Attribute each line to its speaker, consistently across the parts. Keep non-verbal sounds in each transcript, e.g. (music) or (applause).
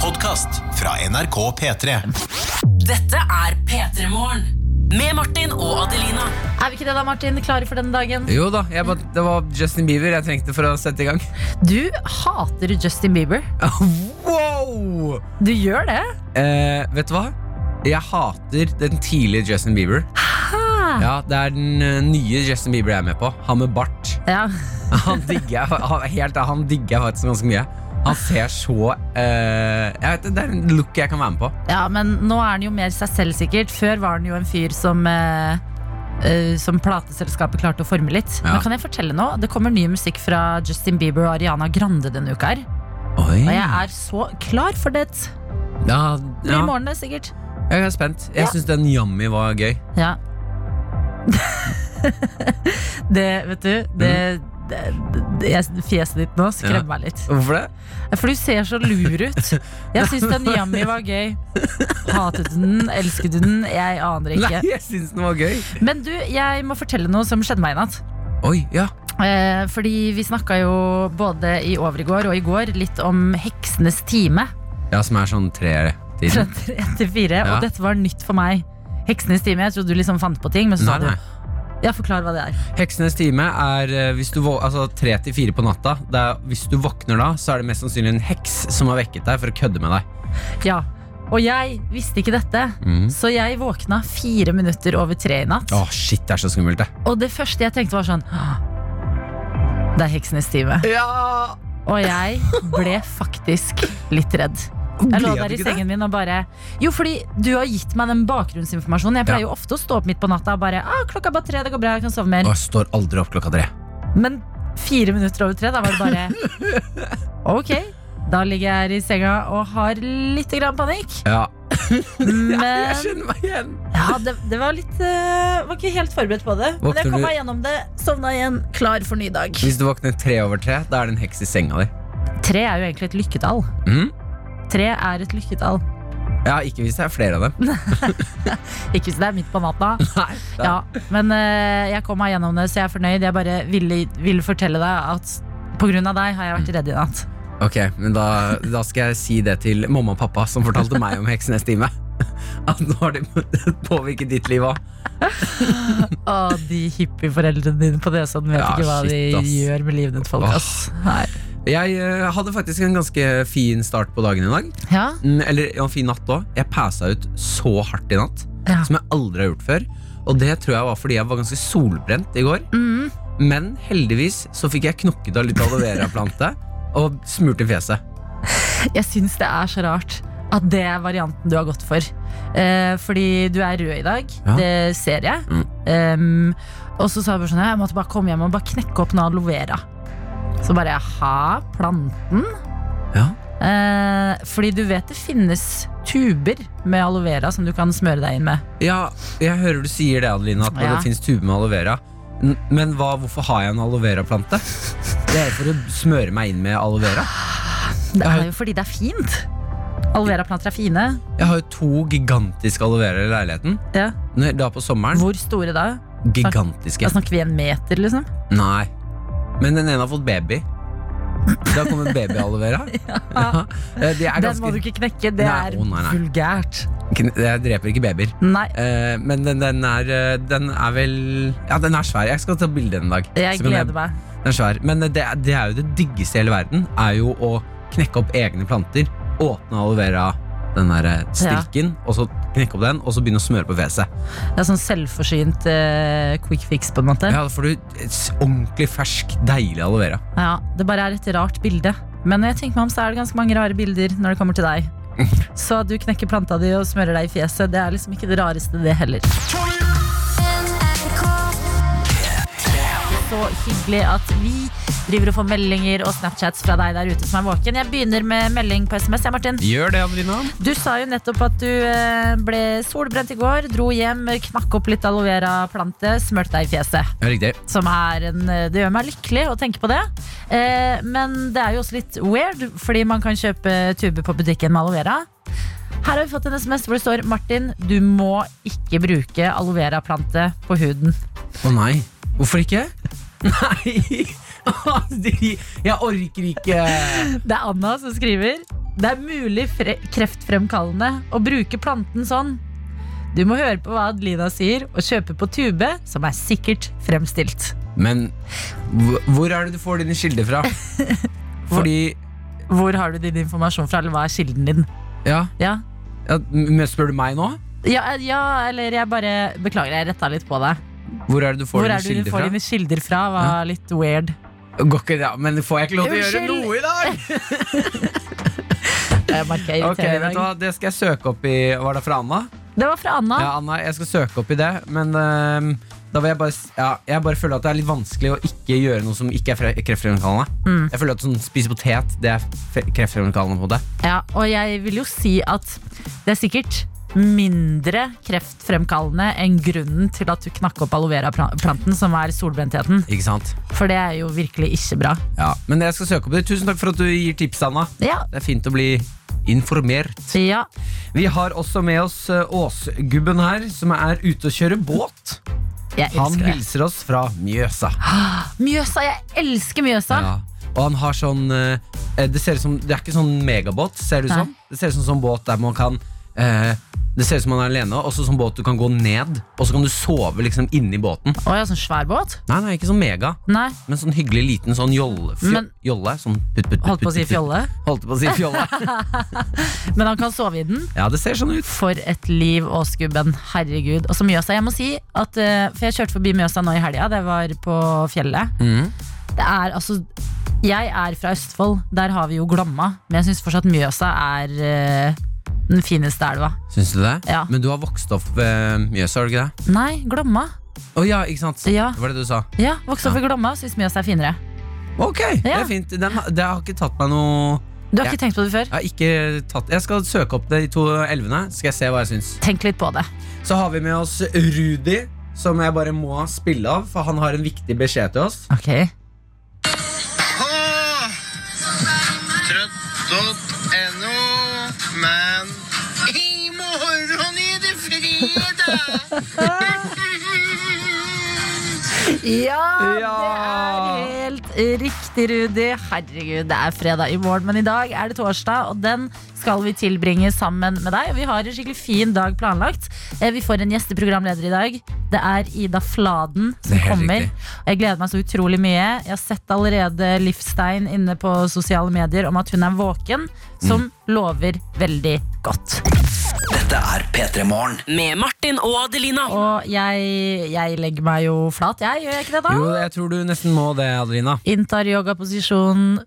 Speaker 1: podkast fra NRK P3.
Speaker 2: Dette er P3 Morgen. Med Martin og Adelina.
Speaker 3: Er vi ikke det da, Martin? Klare for denne dagen?
Speaker 4: Jo da, jeg bare, det var Justin Bieber jeg trengte for å sette i gang. (laughs)
Speaker 3: Du hater Justin Bieber.
Speaker 4: wow!
Speaker 3: Du gjør det?
Speaker 4: Eh, vet du hva? Jeg hater den tidlige Justin Bieber.
Speaker 3: Hæ?
Speaker 4: Ja, Det er den eh, nye Justin Bieber jeg er med på. Han med bart. (laughs)
Speaker 3: Ja.
Speaker 4: Han digger jeg, han, helt, ærlig, han digger jeg faktisk ganske mye. Han ser så eh, Jeg vet ikke, Det er en look jeg kan være med på.
Speaker 3: ja, men nå er han jo mer seg selv, sikkert. Før var han jo en fyr som eh, eh, som plateselskapet klarte å forme litt.
Speaker 4: Ja.
Speaker 3: Men kan jeg fortelle nå? Det kommer ny musikk fra Justin Bieber og Ariana Grande denne uka. her
Speaker 4: Oi.
Speaker 3: Og jeg er så klar for det. Det
Speaker 4: Ja,
Speaker 3: blir
Speaker 4: Mm. ja,
Speaker 3: i morgen, det, sikkert.
Speaker 4: jeg er spent. Jeg syns den Yummy var gøy.
Speaker 3: Ja. (laughs) det, vet du det, det, det, jeg- Fjeset ditt nå skremmer
Speaker 4: Mm. Ja.
Speaker 3: meg litt.
Speaker 4: Hvorfor det?
Speaker 3: For du ser så lur ut. Jeg syns den yummy var gøy. Hatet du den? Elsket du den? Jeg aner
Speaker 4: Nei,
Speaker 3: ikke.
Speaker 4: jeg syns den var gøy.
Speaker 3: Men du, jeg må fortelle noe som skjedde meg i natt.
Speaker 4: Oi, ja.
Speaker 3: Eh, fordi vi snakka jo både i overgård og i går litt om Heksenes time.
Speaker 4: Ja, som er sånn
Speaker 3: Fra
Speaker 4: tre-tiden.
Speaker 3: tre til fire.
Speaker 4: Ja.
Speaker 3: Og dette var nytt for meg. Heksenes time. Jeg trodde du liksom fant på ting, men så sa
Speaker 4: Nei, nei.
Speaker 3: du Ja, forklar hva det er.
Speaker 4: Heksenes time er eh, hvis du vå- altså, 3 til 4 på natta. Det er, hvis du våkner da, så er det mest sannsynlig en heks som har vekket deg for å kødde med deg.
Speaker 3: Ja, og jeg visste ikke dette,
Speaker 4: Mm.
Speaker 3: så jeg våkna fire minutter over tre i natt.
Speaker 4: Åh, shit, det er så skummelt, det.
Speaker 3: Og det første jeg tenkte var sånn «Åh, Det er heksenes time.
Speaker 4: Ja!
Speaker 3: Og jeg ble faktisk litt redd. Jeg lå
Speaker 4: Ble
Speaker 3: der
Speaker 4: du
Speaker 3: i
Speaker 4: ikke
Speaker 3: sengen min og bare Jo, fordi du har gitt meg den bakgrunnsinformasjonen. Jeg pleier jo ofte å stå opp midt på natta og bare ah, 'Klokka er bare tre, det går bra, jeg kan sove mer'.
Speaker 4: Åh, jeg står aldri opp klokka tre.
Speaker 3: Men fire minutter over tre, da var det bare
Speaker 4: (laughs)
Speaker 3: Ok, da ligger jeg her i senga og har litt grann panikk.
Speaker 4: (laughs) Ja.
Speaker 3: Men
Speaker 4: kjenner meg igjen.
Speaker 3: Ja, det, det var litt eh, Var ikke helt forberedt på det. Men
Speaker 4: Våkner
Speaker 3: jeg kom
Speaker 4: du-
Speaker 3: meg gjennom det, sovna igjen, klar for ny dag.
Speaker 4: Hvis du våkner tre over tre, da er det en heks i senga di.
Speaker 3: Tre er jo egentlig et lykketall.
Speaker 4: Mm?
Speaker 3: Tre er et lykketall.
Speaker 4: Ja, ikke hvis det er flere av dem.
Speaker 3: Ikke hvis det er midt på
Speaker 4: (laughs)
Speaker 3: natta.
Speaker 4: Nei, det-
Speaker 3: Ja, men eh, jeg kom meg gjennom det, så jeg er fornøyd. Jeg bare ville, ville fortelle deg at pga. deg har jeg vært redd i
Speaker 4: (laughs)
Speaker 3: natt.
Speaker 4: Ok, men da, da skal jeg si det til mamma og pappa, som fortalte meg om Heksenes time. (laughs) At nå har det påvirket ditt liv òg.
Speaker 3: Å, de hippieforeldrene dine på det sånn vet
Speaker 4: Ja,
Speaker 3: ikke hva
Speaker 4: shit,
Speaker 3: de
Speaker 4: ass.
Speaker 3: gjør med livet ditt, folk,
Speaker 4: Åh.
Speaker 3: ass. Nei.
Speaker 4: Jeg eh, hadde faktisk en ganske fin start på dagen i dag.
Speaker 3: Ja,
Speaker 4: Mm, Eller ja, fin natt òg. Jeg passa ut så hardt i natt
Speaker 3: Ja.
Speaker 4: som jeg aldri har gjort før. Og det tror jeg var fordi jeg var ganske solbrent i går.
Speaker 3: Mhm.
Speaker 4: Men heldigvis så fikk jeg knokket av litt aloe vera-plante (laughs) og smurte fjeset.
Speaker 3: Jeg syns det er så rart at det er varianten du har gått for. Eh, fordi du er rød i dag,
Speaker 4: Ja.
Speaker 3: det ser jeg.
Speaker 4: Mm.
Speaker 3: Em, og så sa jeg bare sånn Jeg måtte bare komme hjem og bare knekke opp noe aloe vera. Så bare ha planten.
Speaker 4: Ja.
Speaker 3: Eh, fordi du vet det finnes tuber med aloe vera som du kan smøre deg inn med.
Speaker 4: ja, jeg hører du sier det, Adeline, at
Speaker 3: Ja.
Speaker 4: det fins tuber med aloe vera. N- Men hva, hvorfor har jeg en aloe vera-plante? Det er for å smøre meg inn med aloe vera.
Speaker 3: Det
Speaker 4: Ja.
Speaker 3: er jo fordi det er fint. Aloe vera-planter er fine.
Speaker 4: Jeg har jo to gigantiske aloe vera i leiligheten.
Speaker 3: Ja.
Speaker 4: Når- Da på sommeren.
Speaker 3: Hvor store da?
Speaker 4: Gigantiske.
Speaker 3: Da snakker vi en meter, liksom.
Speaker 4: Nei. Men den ene har fått baby. Da kommer
Speaker 3: (laughs)
Speaker 4: baby-aloe vera. Ja. Eh, Det er
Speaker 3: Den må du
Speaker 4: ganske
Speaker 3: ikke knekke. Det
Speaker 4: Nei,
Speaker 3: er
Speaker 4: å, nei, nei.
Speaker 3: vulgært.
Speaker 4: Kn- Jeg dreper ikke babyer.
Speaker 3: Nei.
Speaker 4: Eh, Men den, den, er, eh, den er vel Ja, den er svær. Jeg skal ta bilde en dag.
Speaker 3: Jeg
Speaker 4: Så kan
Speaker 3: gleder meg.
Speaker 4: Den er svær. Men eh, det, er- det er jo det diggeste i hele verden. Er jo å knekke opp egne planter. Åpne aloe vera, den der eh, stilken, og så knekke opp den, og så begynne å smøre på fjeset.
Speaker 3: Det er sånn selvforsynt eh, quick fix, på en måte. Ja.
Speaker 4: Ja, da får du et s- ordentlig fersk, deilig aloe vera.
Speaker 3: det bare er et rart bilde. Men når jeg tenker meg om, så er det ganske mange rare bilder når det kommer til deg. Så at du knekker planta di og smører deg i fjeset, det er liksom ikke det rareste, det heller. Så hyggelig at vi driver og får meldinger og Snapchats fra deg der ute som er våken. Jeg begynner med melding på SMS, jeg, Martin.
Speaker 4: Gjør det, Adelina.
Speaker 3: Du sa jo nettopp at du eh, ble solbrent i går, dro hjem, knakk opp litt aloe vera-plante, smurte deg i fjeset.
Speaker 4: Ja, riktig.
Speaker 3: som er en eh, Det gjør meg lykkelig å tenke på det. Eh, men det er jo også litt weird, fordi man kan kjøpe tuber på butikken med aloe vera. Her har vi fått en SMS hvor det står Martin, du må ikke bruke aloe vera-plante på huden.
Speaker 4: Å nei. Hvorfor ikke? (laughs) Nei! De- (laughs) Jeg orker ikke.
Speaker 3: Det er Anna som skriver. Det er mulig fre kreftfremkallende å bruke planten sånn. Du må høre på hva Adelina sier, og kjøpe på tube, som er sikkert fremstilt.
Speaker 4: Men hv- hvor er det du får dine
Speaker 3: (laughs)
Speaker 4: kilder fra? Fordi
Speaker 3: Hvor har du din informasjon fra, eller hva er kilden din?
Speaker 4: Ja,
Speaker 3: Ja,
Speaker 4: ja men spør du meg nå?
Speaker 3: ja, eh, ja eller jeg bare Beklager, jeg retta litt på deg.
Speaker 4: Hvor er det du får
Speaker 3: Hvor
Speaker 4: dine
Speaker 3: er det du
Speaker 4: kilder
Speaker 3: får
Speaker 4: fra?
Speaker 3: dine kilder fra? Var litt weird.
Speaker 4: Går ikke det, ja, men får jeg ikke lov til å gjøre
Speaker 3: Unnskyld.
Speaker 4: noe i dag?
Speaker 3: Jeg merker jeg
Speaker 4: Ok,
Speaker 3: irriterer eh,
Speaker 4: vet
Speaker 3: i
Speaker 4: du
Speaker 3: dag.
Speaker 4: hva, Det skal jeg søke opp i Var det fra Anna?
Speaker 3: Det var fra Anna.
Speaker 4: Ja, Anna, jeg skal søke opp i det, men ehm, da vil jeg bare s- ja, Jeg bare føler at det er litt vanskelig å ikke gjøre noe som ikke er fre- kreftfremkallende.
Speaker 3: Mm.
Speaker 4: Jeg føler at sånn spise potet, det er fe- kreftfremkallende på det.
Speaker 3: Ja, og jeg vil jo si at det er sikkert mindre kreftfremkallende enn grunnen til at du knakk opp aloe vera-planten, som er solbrentheten.
Speaker 4: Ikke sant?
Speaker 3: For det er jo virkelig ikke bra.
Speaker 4: Ja, Men jeg skal søke opp det. Tusen takk for at du gir tips, Anna.
Speaker 3: Ja.
Speaker 4: Det er fint å bli informert.
Speaker 3: ja.
Speaker 4: Vi har også med oss eh, Åsgubben her, som er ute og kjører båt.
Speaker 3: Jeg
Speaker 4: Han
Speaker 3: elsker det.
Speaker 4: hilser oss fra Mjøsa.
Speaker 3: Mjøsa! Jeg elsker Mjøsa!
Speaker 4: Ja. Og han har sånn eh, Det ser ut som Det er ikke sånn megabåt, ser det
Speaker 3: Nei.
Speaker 4: ut som. Det ser ut som sånn båt der man kan eh, Det ser ut som man er alene, og så sånn båt du kan gå ned, og så kan du sove liksom inni båten.
Speaker 3: Å ja, sånn svær båt?
Speaker 4: Nei, nei, ikke sånn mega,
Speaker 3: Nei,
Speaker 4: men sånn hyggelig liten sånn jolle. Fjo,
Speaker 3: Men-
Speaker 4: jolle sånn putt, putt, putt,
Speaker 3: holdt på å si
Speaker 4: putt, putt,
Speaker 3: fjolle.
Speaker 4: putt. Holdt på å si
Speaker 3: (laughs)
Speaker 4: fjolle.
Speaker 3: Men han kan sove i den.
Speaker 4: ja, det ser sånn ut.
Speaker 3: For et liv, Åsgubben. Herregud. Og så Mjøsa. Jeg må si at eh, For jeg kjørte forbi Mjøsa nå i helga. Det var på fjellet. Det er altså Jeg er fra Østfold. Der har vi jo Glomma. Men jeg syns fortsatt Mjøsa er eh, den fineste elva.
Speaker 4: Syns du det?
Speaker 3: Ja.
Speaker 4: Men du har vokst opp ved Mjøsa, har du ikke det?
Speaker 3: Nei, Glomma.
Speaker 4: Å ja, ikke sant?
Speaker 3: Ja.
Speaker 4: Det var det du sa.
Speaker 3: Ja, Vokste opp i Glomma og syns Mjøsa er finere.
Speaker 4: Ok, det
Speaker 3: Ja.
Speaker 4: er fint. Den, har- det har ikke tatt meg noe
Speaker 3: Du har
Speaker 4: Ja.
Speaker 3: ikke tenkt på det før?
Speaker 4: Jeg har ikke tatt Jeg skal søke opp de to elvene, skal jeg se hva jeg syns.
Speaker 3: Tenk litt på det.
Speaker 4: Så har vi med oss Rudi, som jeg bare må spille av, for han har en viktig beskjed til oss.
Speaker 3: Ok
Speaker 5: Trøtt.no, men i morgen er det fredag!
Speaker 3: Ja, det
Speaker 4: Ja.
Speaker 3: er helt riktig, Rudi. Herregud, det er fredag i morgen, men i dag er det torsdag, og den skal vi tilbringe sammen med deg. Vi har en skikkelig fin dag planlagt. Eh, Vi får en gjesteprogramleder i dag. Det er Ida Fladen som
Speaker 4: Det er helt
Speaker 3: kommer.
Speaker 4: riktig.
Speaker 3: Og jeg gleder meg så utrolig mye. Jeg har sett allerede Livstein inne på sosiale medier om at hun er våken, som
Speaker 4: Mm.
Speaker 3: lover veldig godt.
Speaker 2: Med Martin og Adelina.
Speaker 3: Og jeg, jeg legger meg jo flat, jeg. Gjør jeg ikke det, da?
Speaker 4: Jo, jeg tror du nesten må det, Adelina.
Speaker 3: Inntar yogaposisjon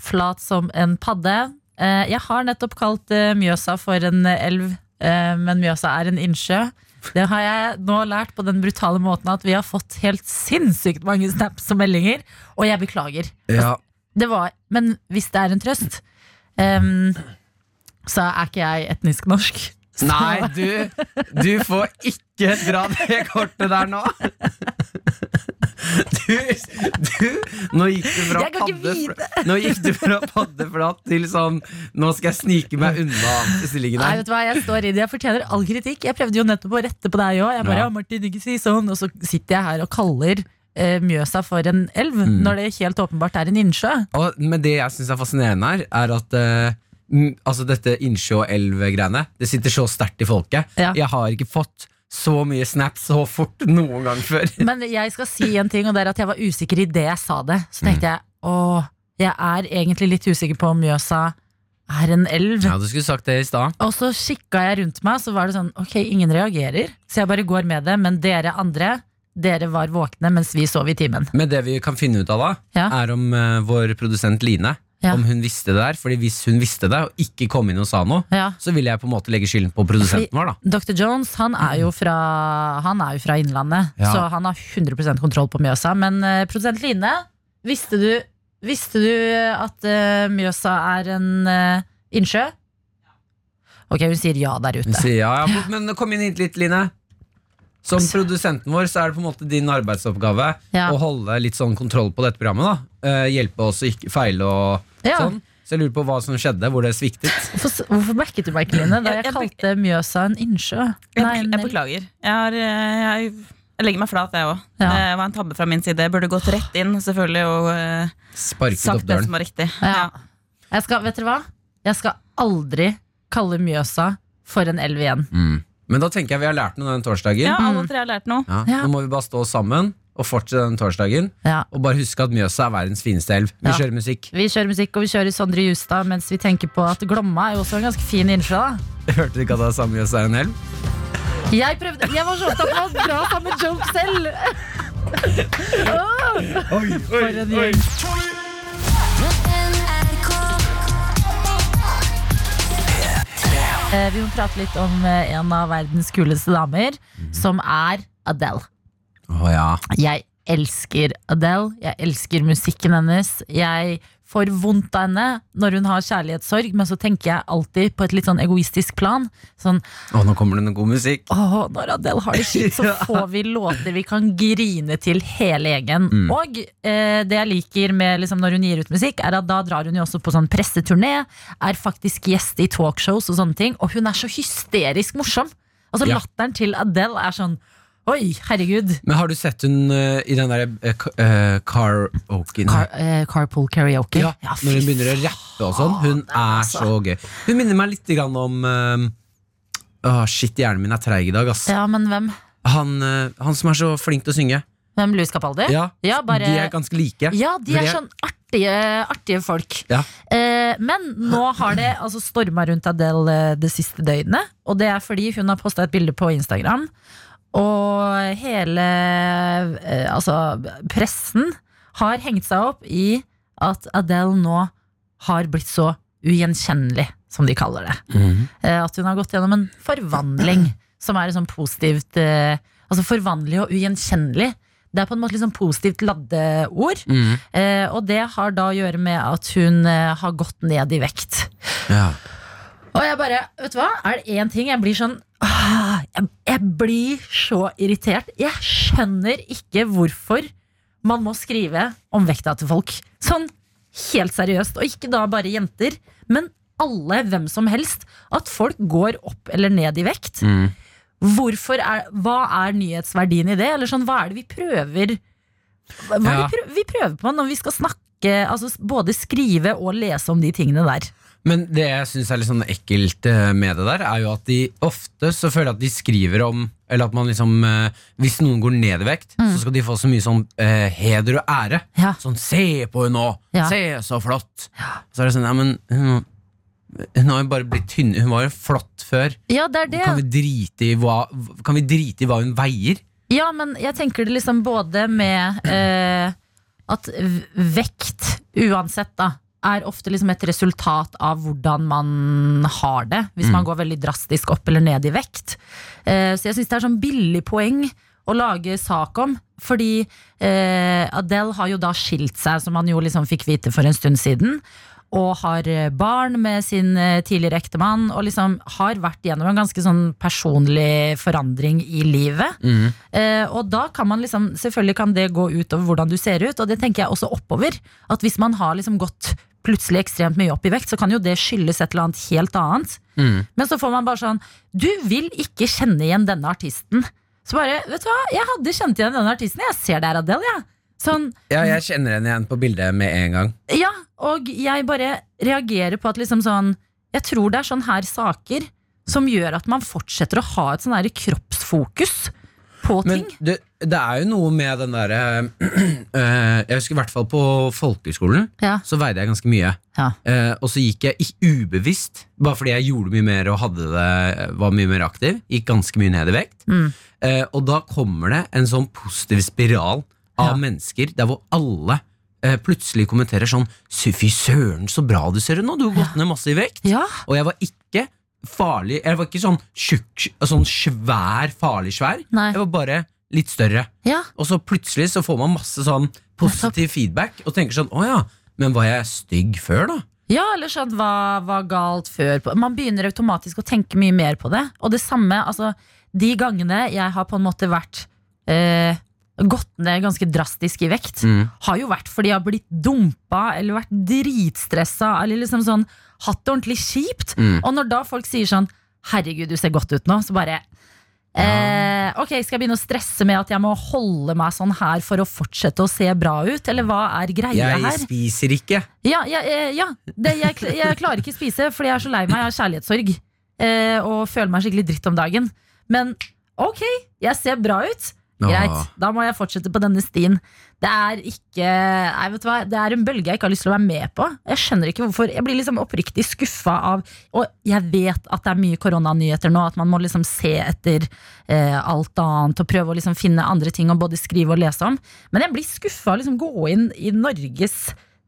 Speaker 3: flat som en padde. Eh, Jeg har nettopp kalt eh, Mjøsa for en eh, elv, eh, men Mjøsa er en innsjø. Det har jeg nå lært på den brutale måten at vi har fått helt sinnssykt mange snaps og meldinger, og jeg beklager.
Speaker 4: Ja,
Speaker 3: Det var, men hvis det er en trøst, em, så er ikke jeg etnisk norsk. Så-
Speaker 4: (laughs) Nei, du, du får ikke dra det kortet der nå. (laughs) Du, du Nå gikk du fra
Speaker 3: Jeg kan ikke
Speaker 4: paddefla- Nå gikk du fra paddeflat til sånn Nå skal jeg snike meg unna stillingen
Speaker 3: Nei,
Speaker 4: her.
Speaker 3: vet du hva, jeg står i det. Jeg fortjener all kritikk. Jeg prøvde jo nettopp å rette på deg òg. Jeg bare,
Speaker 4: Ja.
Speaker 3: ja. Martin, ikke si sånn. Og så sitter jeg her og kaller eh, Mjøsa for en elv, når det helt åpenbart er en innsjø.
Speaker 4: Og, men det jeg syns er fascinerende her, er at eh, m- altså dette innsjø- og elv-greiene Det sitter så sterkt i folket.
Speaker 3: Ja.
Speaker 4: Jeg har ikke fått så mye snaps så fort noen gang
Speaker 3: (laughs)
Speaker 4: før.
Speaker 3: Men jeg skal si en ting, og det er at jeg var usikker i det jeg sa det. Så tenkte jeg, åh, jeg er egentlig litt usikker på om Mjøsa er en elv.
Speaker 4: du skulle sagt det i stad.
Speaker 3: Og så kikka jeg rundt meg, så var det sånn, ok, ingen reagerer. Så jeg bare går med det, men dere andre, dere var våkne mens vi sov i timen.
Speaker 4: Men det vi kan finne ut av da,
Speaker 3: Ja.
Speaker 4: er om eh, vår produsent Line
Speaker 3: Ja.
Speaker 4: Om hun visste det der. Fordi hvis hun visste det og ikke kom inn og sa noe,
Speaker 3: Ja.
Speaker 4: så ville jeg på en måte legge skylden på produsenten vår. da
Speaker 3: Dr. Jones han er jo fra, han er jo fra Innlandet,
Speaker 4: Ja.
Speaker 3: så han har 100 kontroll på Mjøsa. Men eh, produsent Line, visste du, visste du at eh, Mjøsa er en eh, innsjø? Ok, hun sier ja der
Speaker 4: Hun
Speaker 3: ute.
Speaker 4: sier ja, ja, men kom inn hit litt, Line. Som produsenten vår så er det på en måte din arbeidsoppgave
Speaker 3: Ja.
Speaker 4: å holde litt sånn kontroll på dette programmet. da Eh, Hjelpe oss å ikke feile og
Speaker 3: Ja.
Speaker 4: sånn. Så jeg lurer på hva som skjedde, hvor det sviktet.
Speaker 3: Hvorfor, s- hvorfor merket du meg ikke, Line, da
Speaker 6: Jeg-
Speaker 3: jeg
Speaker 6: jeg bek-
Speaker 3: kalte Mjøsa en innsjø? Nei,
Speaker 6: Jeg,
Speaker 3: en-
Speaker 6: jeg beklager. Jeg, har, eh, jeg, jeg legger meg flat, jeg òg.
Speaker 3: Ja.
Speaker 6: Det var en tabbe fra min side. Jeg burde gått rett inn selvfølgelig og eh,
Speaker 4: Sparket opp
Speaker 6: sagt det
Speaker 4: døren.
Speaker 6: som var riktig.
Speaker 3: Ja. Jeg skal, vet dere hva? Jeg skal aldri kalle Mjøsa for en elv igjen.
Speaker 4: Mm. Men da tenker jeg vi har lært noe den torsdagen.
Speaker 6: Ja,
Speaker 3: Mm.
Speaker 6: alle tre har lært noe.
Speaker 4: Ja.
Speaker 3: Ja.
Speaker 4: Nå må vi bare stå sammen og fortsette den torsdagen.
Speaker 3: Ja.
Speaker 4: Og bare huske at Mjøsa er verdens fineste elv. Vi
Speaker 3: Ja.
Speaker 4: kjører musikk. (laughs)
Speaker 3: Vi kjører musikk, og vi kjører Sondre Justad mens vi tenker på at Glomma er jo også en ganske fin innsjø. da.
Speaker 4: Hørte du ikke at det er samme Mjøsa er en elv?
Speaker 3: Jeg prøvde, jeg var så opptatt av å dra samme joke selv. For en gjeng. Eh, Vi må prate litt om eh, en av verdens kuleste damer, som er Adele.
Speaker 4: Å ja.
Speaker 3: Jeg elsker Adele. Jeg elsker musikken hennes. Jeg får vondt av henne når hun har kjærlighetssorg, men så tenker jeg alltid på et litt sånn egoistisk plan. Sånn
Speaker 4: Å, nå kommer det noe god musikk.
Speaker 3: Åh, når Adele har det skitt,
Speaker 4: (laughs)
Speaker 3: så får vi låter vi kan grine til hele gjengen.
Speaker 4: Mm.
Speaker 3: Og eh, det jeg liker med liksom, når hun gir ut musikk, er at da drar hun jo også på sånn presseturné, er faktisk gjest i talkshows og sånne ting, og hun er så hysterisk morsom. Altså
Speaker 4: Ja.
Speaker 3: Latteren til Adele er sånn Oi, herregud.
Speaker 4: Men har du sett hun eh, i den derre uh, karaoke
Speaker 3: Car eh, carpool karaoke.
Speaker 4: Ja,
Speaker 3: fy
Speaker 4: når hun begynner å rappe og sånn. Hun er
Speaker 3: altså.
Speaker 4: så gøy. Hun minner meg litt grann om eh, Åh, shit, hjernen min er treig i dag, ass.
Speaker 3: Ja, men hvem?
Speaker 4: Han, eh, han som er så flink til å synge.
Speaker 3: Hvem Louis Capaldi?
Speaker 4: Ja,
Speaker 3: Ja, bare-
Speaker 4: De er ganske like.
Speaker 3: Ja, de
Speaker 4: Fordi
Speaker 3: er
Speaker 4: jeg-
Speaker 3: sånn artige, artige folk.
Speaker 4: Ja.
Speaker 3: Eh, men nå har det altså, storma rundt Adele eh, det siste døgnet. Og det er fordi hun har posta et bilde på Instagram. Og hele eh, altså, pressen har hengt seg opp i at Adele nå har blitt så ugjenkjennelig, som de kaller det. Eh, At hun har gått gjennom en forvandling som er et sånn positivt eh, Altså forvandling og ugjenkjennelig. Det er på en måte litt sånn positivt ladde ord. Eh, og det har da å gjøre med at hun eh, har gått ned i vekt.
Speaker 4: Ja.
Speaker 3: Og jeg bare, vet du hva? Er det én ting jeg blir sånn ah, jeg, jeg blir så irritert. Jeg skjønner ikke hvorfor man må skrive om vekta til folk. Sånn helt seriøst. Og ikke da bare jenter, men alle, hvem som helst. At folk går opp eller ned i vekt.
Speaker 4: Mm.
Speaker 3: Hvorfor er, hva er nyhetsverdien i det? Eller sånn, hva er det vi prøver Hva hva er det
Speaker 4: Ja.
Speaker 3: vi prø- vi prøver på når vi skal snakke Altså både skrive og lese om de tingene der?
Speaker 4: Men det jeg syns er litt sånn ekkelt eh, med det der, er jo at de ofte så føler jeg at de skriver om Eller at man liksom eh, Hvis noen går ned i vekt, så skal de få så mye sånn eh, heder og ære.
Speaker 3: Mm. Ja.
Speaker 4: Sånn 'se på henne nå!
Speaker 3: Ja.
Speaker 4: Se, så flott!' Så er det sånn Ja, men hun, hun har jo bare blitt tynn. Hun var jo flott før.
Speaker 3: Ja, det er det.
Speaker 4: Kan, vi drite i hva, kan vi drite i hva hun veier?
Speaker 3: Ja, men jeg tenker det liksom både med eh, at v- vekt, uansett da, er ofte liksom et resultat av hvordan man har det, hvis man går veldig drastisk opp eller ned i vekt. Eh, så jeg synes det er sånn billig poeng å lage sak om, fordi eh, Adele har jo da skilt seg, som han jo liksom fikk vite for en stund siden, og har eh, barn med sin eh, tidligere ektemann, og liksom har vært gjennom en ganske sånn personlig forandring i livet. Eh, og da kan man liksom, selvfølgelig kan det gå ut over hvordan du ser ut, og det tenker jeg også oppover. At hvis man har liksom gått plutselig ekstremt mye opp i vekt, så kan jo det skyldes et eller annet helt annet. Men så får man bare sånn Du vil ikke kjenne igjen denne artisten. Så bare, vet du hva, jeg hadde kjent igjen denne artisten. Jeg ser det er Adele, jeg. Sånn,
Speaker 4: Ja, jeg kjenner henne igjen på bildet med en gang.
Speaker 3: ja, og jeg bare reagerer på at liksom sånn Jeg tror det er sånn her saker som gjør at man fortsetter å ha et sånn her kroppsfokus på
Speaker 4: Men
Speaker 3: ting.
Speaker 4: det, det er jo noe med den derre (clears throat) eh, Jeg husker i hvert fall på folkehøyskolen.
Speaker 3: Ja.
Speaker 4: Så veide jeg ganske mye.
Speaker 3: Ja.
Speaker 4: Eh, og så gikk jeg i- ubevisst, bare fordi jeg gjorde mye mer og hadde det, var mye mer aktiv. Gikk ganske mye ned i vekt.
Speaker 3: Mm.
Speaker 4: Eh, og da kommer det en sånn positiv spiral av mennesker der hvor alle eh, plutselig kommenterer sånn «Sy, Fy søren, så bra du ser ut nå! Du har gått ned masse i vekt.
Speaker 3: ja.
Speaker 4: Og jeg var ikke farlig Jeg var ikke sånn tjukk, sånn svær, farlig svær.
Speaker 3: Nei.
Speaker 4: Jeg var bare litt større.
Speaker 3: Ja.
Speaker 4: Og så plutselig så får man masse sånn positiv feedback og tenker sånn Å ja, men var jeg stygg før, da?
Speaker 3: Ja, eller sånn hva var galt før på- Man begynner automatisk å tenke mye mer på det Og det samme, altså De gangene jeg har på en måte vært eh, Gått ned ganske drastisk i
Speaker 4: Mm.
Speaker 3: vekt Har jo vært fordi jeg har blitt dumpa Eller vært dritstressa Eller liksom sånn mm. Hatt det ordentlig kjipt Og når da folk sier sånn Herregud, du ser godt ut nå Så bare Eh, ok, Skal jeg begynne å stresse med at jeg må holde meg sånn her for å fortsette å se bra ut? Eller hva er greia
Speaker 4: Jeg
Speaker 3: her?
Speaker 4: spiser ikke.
Speaker 3: Ja, ja, eh, ja. Det, jeg, kl- jeg klarer ikke spise fordi jeg er så lei meg. Jeg har kjærlighetssorg eh, og føler meg skikkelig dritt om dagen. Men ok, jeg ser bra ut. Greit,
Speaker 4: Åh.
Speaker 3: da må jeg fortsette på denne stien. Det er ikke Nei, vet du hva, det er en bølge jeg ikke har lyst til å være med på. Jeg skjønner ikke hvorfor. Jeg blir liksom oppriktig skuffa av Og jeg vet at det er mye koronanyheter nå, at man må liksom se etter eh, alt annet og prøve å liksom finne andre ting å både skrive og lese om. Men jeg blir skuffa av å liksom gå inn i Norges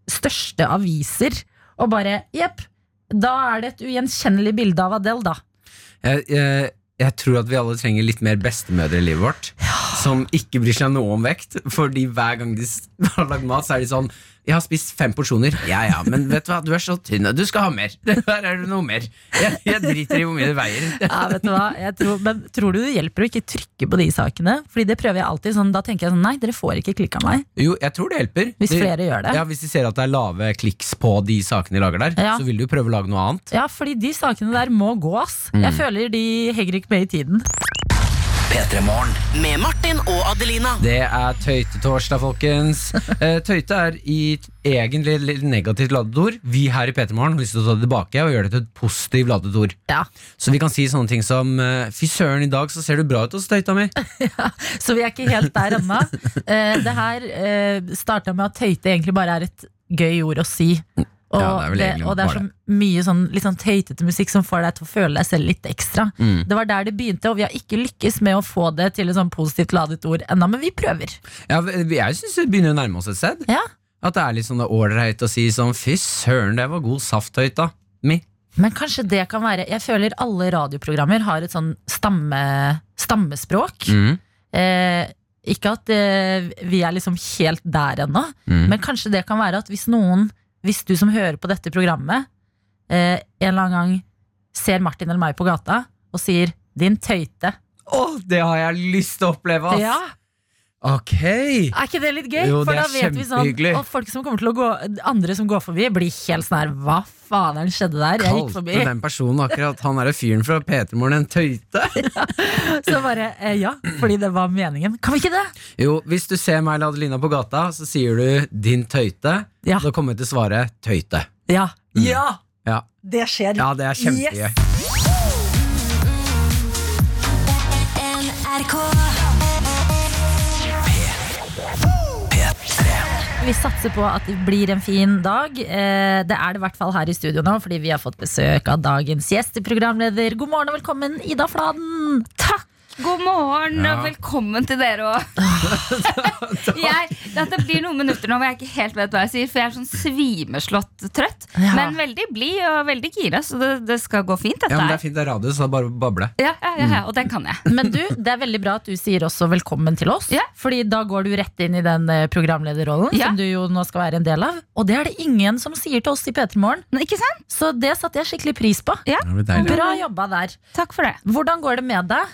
Speaker 3: største aviser og bare Jepp, da er det et ugjenkjennelig bilde av Adele, da.
Speaker 4: Jeg, jeg, jeg tror at vi alle trenger litt mer bestemødre i livet vårt. Som ikke bryr seg noe om vekt. Fordi hver gang de s- (laughs) har lagd mat, så er de sånn 'Jeg har spist fem porsjoner.' Ja ja, men vet du hva, du er så tynn, og du skal ha mer. (laughs) Her er det noe mer. Jeg, jeg driter i hvor mye det veier. (laughs)
Speaker 3: Ja, vet du hva? Jeg tror, men tror du det hjelper å ikke trykke på de sakene? Fordi det prøver jeg alltid. Sånn, da tenker jeg sånn, nei, dere får ikke klikk av meg.
Speaker 4: Jo, jeg tror det hjelper.
Speaker 3: Hvis
Speaker 4: De-
Speaker 3: flere gjør det.
Speaker 4: Ja, Hvis de ser at det er lave kliks på de sakene de lager der,
Speaker 3: Ja.
Speaker 4: så vil de jo prøve å lage noe annet.
Speaker 3: Ja, fordi de sakene der må gå, ass. Jeg føler de henger ikke med i tiden.
Speaker 2: Med Martin og Adelina.
Speaker 4: Det er tøytetorsdag,
Speaker 3: (laughs)
Speaker 4: folkens. Eh, tøyte er i t- egentlig et litt negativt ladet ord. Vi her i Petermorgen har lyst til å ta det tilbake og gjøre det til et positivt ladet ord.
Speaker 3: Ja.
Speaker 4: Så vi kan si sånne ting som eh, Fy søren, i dag så ser du bra ut hos tøyta mi.
Speaker 3: Så vi er ikke helt der (laughs) ennå. Eh, det her eh, starta med at tøyte egentlig bare er et gøy ord å si. Og
Speaker 4: Ja, det er vel
Speaker 3: det,
Speaker 4: egentlig
Speaker 3: og det er
Speaker 4: bare
Speaker 3: så mye sånn, litt sånn tøytete musikk som får deg til å føle deg selv litt ekstra. Det var der det begynte, og vi har ikke lykkes med å få det til et sånn positivt ladet ord ennå, men vi prøver.
Speaker 4: Ja, v- jeg syns vi begynner å nærme oss et sted.
Speaker 3: Ja.
Speaker 4: At det er litt sånn det er ålreit å si sånn Fy søren, det var god saft, tøyta mi.
Speaker 3: Men kanskje det kan være Jeg føler alle radioprogrammer har et sånn stamme, stammespråk.
Speaker 4: Mm.
Speaker 3: Eh, ikke at eh, vi er liksom helt der ennå,
Speaker 4: Mm.
Speaker 3: men kanskje det kan være at hvis noen, hvis du som hører på dette programmet, eh, en eller annen gang ser Martin eller meg på gata og sier 'din tøyte',
Speaker 4: Å, det har jeg lyst til å oppleve, ass!
Speaker 3: ja,
Speaker 4: Ok!
Speaker 3: er ikke det litt gøy?
Speaker 4: Jo,
Speaker 3: For da
Speaker 4: det er
Speaker 3: vet vi sånn
Speaker 4: kjempehyggelig.
Speaker 3: Og folk som kommer til å gå andre som går forbi, blir helt sånn her 'hva faderen skjedde der?' Jeg gikk
Speaker 4: Kalte
Speaker 3: forbi.
Speaker 4: den personen akkurat han er fyren fra Petermorgen en tøyte?
Speaker 3: (laughs) Så bare eh, ja, fordi det var meningen. Kan vi ikke det?
Speaker 4: Jo, hvis du ser meg eller Adelina på gata, så sier du 'din tøyte'.
Speaker 3: Ja.
Speaker 4: Da kommer jeg til å svare 'tøyte'.
Speaker 3: Ja.
Speaker 4: Mm.
Speaker 3: ja.
Speaker 4: Ja,
Speaker 3: Det skjer.
Speaker 4: ja det er kjempegøy.
Speaker 3: Vi satser på at det blir en fin dag. Eh, Det er det i hvert fall her i studio nå, fordi vi har fått besøk av dagens gjest, programleder. God morgen og velkommen, Ida Fladen. Takk!
Speaker 7: God morgen
Speaker 4: Ja.
Speaker 7: og velkommen til dere òg.
Speaker 4: (laughs)
Speaker 7: Dette blir noen minutter nå hvor jeg ikke helt vet hva jeg sier, for jeg er sånn svimeslått trøtt.
Speaker 3: Ja.
Speaker 7: Men veldig blid og veldig gira, så det, det skal gå fint, dette
Speaker 4: Ja, men det er
Speaker 7: her.
Speaker 4: fint, det er radio, så det er Mm. bare å bable.
Speaker 7: Ja, ja, ja, ja, og det kan jeg.
Speaker 3: Men du, det er veldig bra at du sier også velkommen til oss,
Speaker 7: Ja.
Speaker 3: fordi da går du rett inn i den eh, programlederrollen
Speaker 7: Ja.
Speaker 3: som du jo nå skal være en del av. Og det er det ingen som sier til oss i P3 Morgen,
Speaker 7: Men ikke sant?
Speaker 3: så det satte jeg skikkelig pris på.
Speaker 7: Ja.
Speaker 4: Det blir deilig.
Speaker 3: Bra jobba der.
Speaker 7: Takk for det.
Speaker 3: Hvordan går det med deg